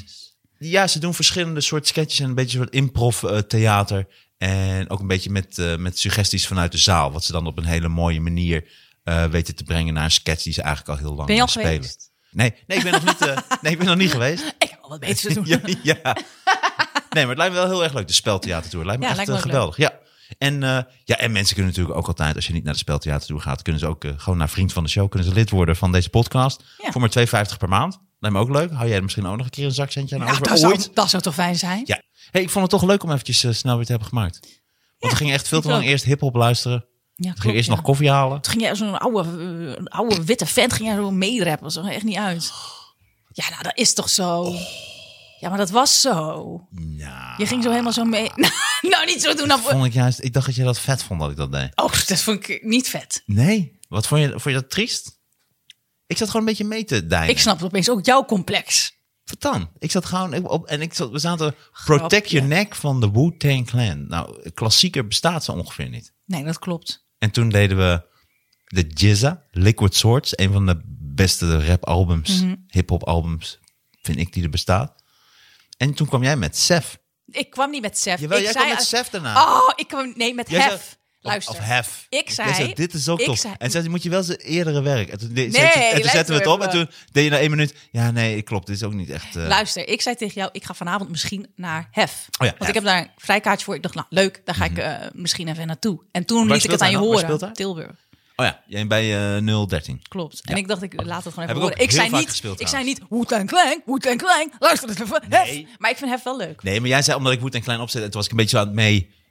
Speaker 2: ja, ze doen verschillende soort sketches en een beetje soort improv eh, theater. En ook een beetje met, eh, met suggesties vanuit de zaal. Wat ze dan op een hele mooie manier eh, weten te brengen naar een sketch die ze eigenlijk al heel lang
Speaker 3: Ben je al
Speaker 2: eh, spelen.
Speaker 3: geweest?
Speaker 2: Nee, nee, ik ben nog niet, eh, nee, ik ben nog niet geweest.
Speaker 3: Ik heb al wat beter te doen.
Speaker 2: ja, ja. Nee, maar het lijkt me wel heel erg leuk, de speltheatertour. Lijkt me
Speaker 3: Ja,
Speaker 2: echt
Speaker 3: lijkt me
Speaker 2: eh,
Speaker 3: ook
Speaker 2: geweldig. Ja. En, eh, ja, en mensen kunnen natuurlijk ook altijd, als je niet naar de speltheatertour gaat, kunnen ze ook eh, gewoon naar Vriend van de Show, kunnen ze lid worden van deze podcast.
Speaker 3: Ja.
Speaker 2: Voor maar 2,50 per maand. Lijkt me ook leuk. Hou jij er misschien ook nog een keer een zakcentje aan
Speaker 3: Nou,
Speaker 2: over?
Speaker 3: dat, zou,
Speaker 2: Ooit.
Speaker 3: dat zou toch fijn zijn?
Speaker 2: Ja. Hey, ik vond het toch leuk om eventjes eh, snel weer te hebben gemaakt. Want we gingen echt veel te
Speaker 3: ik
Speaker 2: lang
Speaker 3: ook.
Speaker 2: eerst hiphop luisteren. We
Speaker 3: Ja,
Speaker 2: gingen
Speaker 3: klopt,
Speaker 2: eerst
Speaker 3: ja.
Speaker 2: nog koffie halen.
Speaker 3: Toen ging jij zo'n oude, eh, een oude witte vent ging jij zo meerappen. Dat zag er echt niet uit. Ja, nou, dat is toch zo? Ja, maar dat was zo.
Speaker 2: Ja.
Speaker 3: Je ging zo helemaal zo mee. nou, niet zo doen.
Speaker 2: Dat
Speaker 3: Nou,
Speaker 2: Ah. vond ik juist. Ik dacht dat je dat vet vond dat ik dat deed.
Speaker 3: oh, dat vond ik niet vet.
Speaker 2: Nee. Wat vond je, vond je dat triest? Ik zat gewoon een beetje mee te dijnen.
Speaker 3: Ik snap opeens ook jouw complex.
Speaker 2: Wat dan? Ik zat gewoon ik- op en ik zat, we zaten Protect Your Neck van de Wu-Tang Clan. Nou, klassieker bestaat ze ongeveer niet.
Speaker 3: Nee, dat klopt.
Speaker 2: En toen deden we de Jizza, Liquid Swords. Een van de beste rap-albums,
Speaker 3: Mhm.
Speaker 2: hip-hop albums, vind ik, die er bestaat. En toen kwam jij met Sef.
Speaker 3: Ik kwam niet met Sef.
Speaker 2: Jawel,
Speaker 3: ik
Speaker 2: jij
Speaker 3: zei
Speaker 2: kwam met
Speaker 3: als-
Speaker 2: Sef daarna.
Speaker 3: Oh, ik kwam nee met
Speaker 2: Jij zei-
Speaker 3: Hef.
Speaker 2: Of-
Speaker 3: Luister.
Speaker 2: Of Hef.
Speaker 3: Ik zei-
Speaker 2: Jij dit is ook
Speaker 3: ik
Speaker 2: top.
Speaker 3: zei-
Speaker 2: en zei, moet je wel zijn eerdere werk. En toen, de-
Speaker 3: Nee,
Speaker 2: en toen zetten
Speaker 3: luister
Speaker 2: we het op. En
Speaker 3: even.
Speaker 2: toen deed je na één minuut. Ja, nee, klopt. Dit is ook niet echt... eh,
Speaker 3: Luister, ik zei tegen jou, ik ga vanavond misschien naar Hef.
Speaker 2: Oh ja,
Speaker 3: Want
Speaker 2: Hef.
Speaker 3: ik heb daar een vrijkaartje voor. Ik dacht, nou leuk, daar ga ik eh, misschien even naartoe. En toen liet ik
Speaker 2: speelt
Speaker 3: het aan
Speaker 2: hij
Speaker 3: je
Speaker 2: nou? Waar
Speaker 3: horen.
Speaker 2: speelt hij?
Speaker 3: Tilburg,
Speaker 2: Oh ja, jij bij eh 013.
Speaker 3: klopt. En ik dacht, ik laat het gewoon even
Speaker 2: Heb ik ook
Speaker 3: horen. Ik
Speaker 2: heel
Speaker 3: zei,
Speaker 2: vaak
Speaker 3: niet,
Speaker 2: gespeeld
Speaker 3: ik zei niet, Wu-Tang Clan, Wu-Tang Clan. Luister het even,
Speaker 2: Nee.
Speaker 3: Hef. Maar ik vind Hef wel leuk.
Speaker 2: Nee, maar jij zei omdat ik Woed en Klein opzet, en toen was ik een beetje zo aan het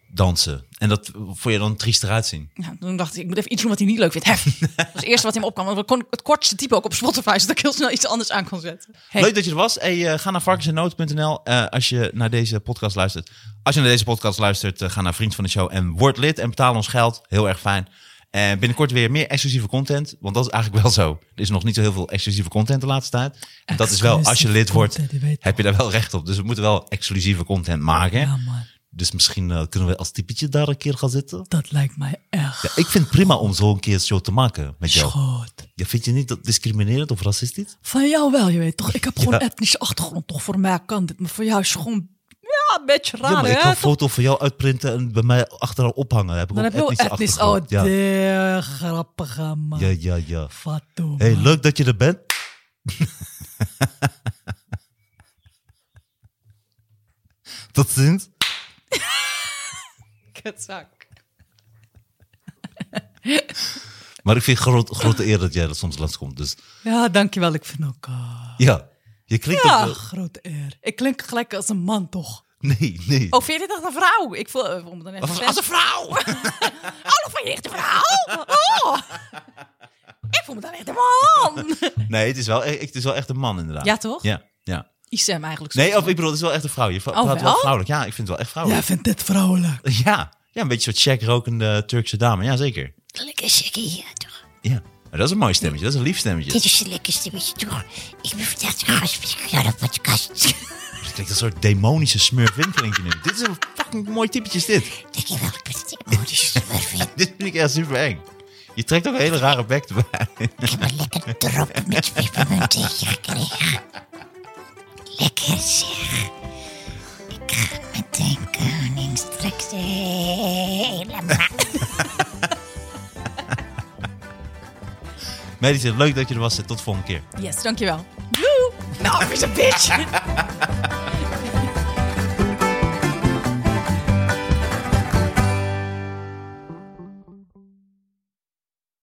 Speaker 2: meedansen. En dat vond je dan triest eruit zien.
Speaker 3: Nou, toen dacht ik, ik moet even iets doen wat hij niet leuk vindt. Hef. dat was het eerste wat in me opkwam. Want we kon het kortste type ook op Spotify, zodat ik heel snel iets anders aan kon zetten. Hey,
Speaker 2: Leuk dat je er was. Hey, eh, ga naar varkensennoods.nl eh, als je naar deze podcast luistert. Als je naar deze podcast luistert, eh, ga naar Vriend van de Show en word lid en betaal ons geld. Heel erg fijn. En binnenkort weer meer exclusieve content, want dat is eigenlijk wel zo. Er is nog niet zo heel veel exclusieve content de laatste tijd. En dat is wel, als je lid wordt, heb je daar wel recht op. Dus we moeten wel exclusieve content maken. Dus misschien eh, kunnen we als typetje daar een keer gaan zitten.
Speaker 3: dat lijkt mij echt
Speaker 2: Ja, ik vind het prima om zo'n keer show te maken met jou. Ja, vind je niet dat discriminerend of racistisch?
Speaker 3: Van jou wel, je weet toch? Ik heb gewoon etnische achtergrond, toch? Voor mij kan dit, maar voor jou is het gewoon ja, een beetje
Speaker 2: Ja,
Speaker 3: raar,
Speaker 2: maar ik ga
Speaker 3: hè?
Speaker 2: een foto van jou uitprinten en bij mij achteraan ophangen. Heb ik
Speaker 3: Dan
Speaker 2: ook
Speaker 3: heb je wel
Speaker 2: etnische
Speaker 3: etnisch. Oh,
Speaker 2: achtergrond. ja.
Speaker 3: de grappige man.
Speaker 2: ja, ja, ja.
Speaker 3: Fatou.
Speaker 2: Hey, leuk dat je er bent. Tot ziens.
Speaker 3: Kutzak.
Speaker 2: Maar ik vind het groot, grote eer dat jij er soms langskomt. Dus
Speaker 3: Ja, dankjewel. Ik vind ook... eh,
Speaker 2: ja, je klinkt
Speaker 3: ja,
Speaker 2: ook wel-
Speaker 3: grote eer. Ik klink gelijk als een man, toch?
Speaker 2: Nee, nee.
Speaker 3: Oh, vind je dit echt een vrouw? Ik voel... eh, om dan even
Speaker 2: Als-
Speaker 3: te-
Speaker 2: als een vrouw!
Speaker 3: Oh, dan vind je echt een vrouw? Oh! ik voel me dan echt een man.
Speaker 2: Nee, het is, wel, e- het is wel echt een man inderdaad.
Speaker 3: Ja, toch?
Speaker 2: Ja, ja.
Speaker 3: Isem eigenlijk.
Speaker 2: Nee, oh. of ik bedoel, het is wel echt een vrouw. Je vra-
Speaker 3: Oh,
Speaker 2: praat wel
Speaker 3: wel?
Speaker 2: vrouwelijk. Ja, ik vind het wel echt vrouwelijk.
Speaker 3: Jij vindt dit vrouwelijk.
Speaker 2: Ja, ja een beetje een soort check rokende Turkse dame. Ja, zeker.
Speaker 5: Lekker chickie, ja toch?
Speaker 2: Ja. Maar dat is een mooi stemmetje. Dat is een lief stemmetje.
Speaker 5: Dit is de lekkerste beetje toch? Ik ben vandaag de gast van de Garde podcast.
Speaker 2: Het klinkt als een soort demonische smurfin klinkt je nu. Dit is een fucking mooi typetje is dit.
Speaker 5: Dankjewel, ik ben het emoties verwend.
Speaker 2: Dit vind ik echt super eng. Je trekt ook een hele rare bek erbij.
Speaker 5: Ik heb een lekker drop met pepermunt tegen gekregen. Lekker zeg. Ik ga met de koning straks eh, helemaal...
Speaker 2: Medische, leuk dat je er was. Tot de volgende keer.
Speaker 3: Yes, dankjewel. Doei. Nou, is een bitch.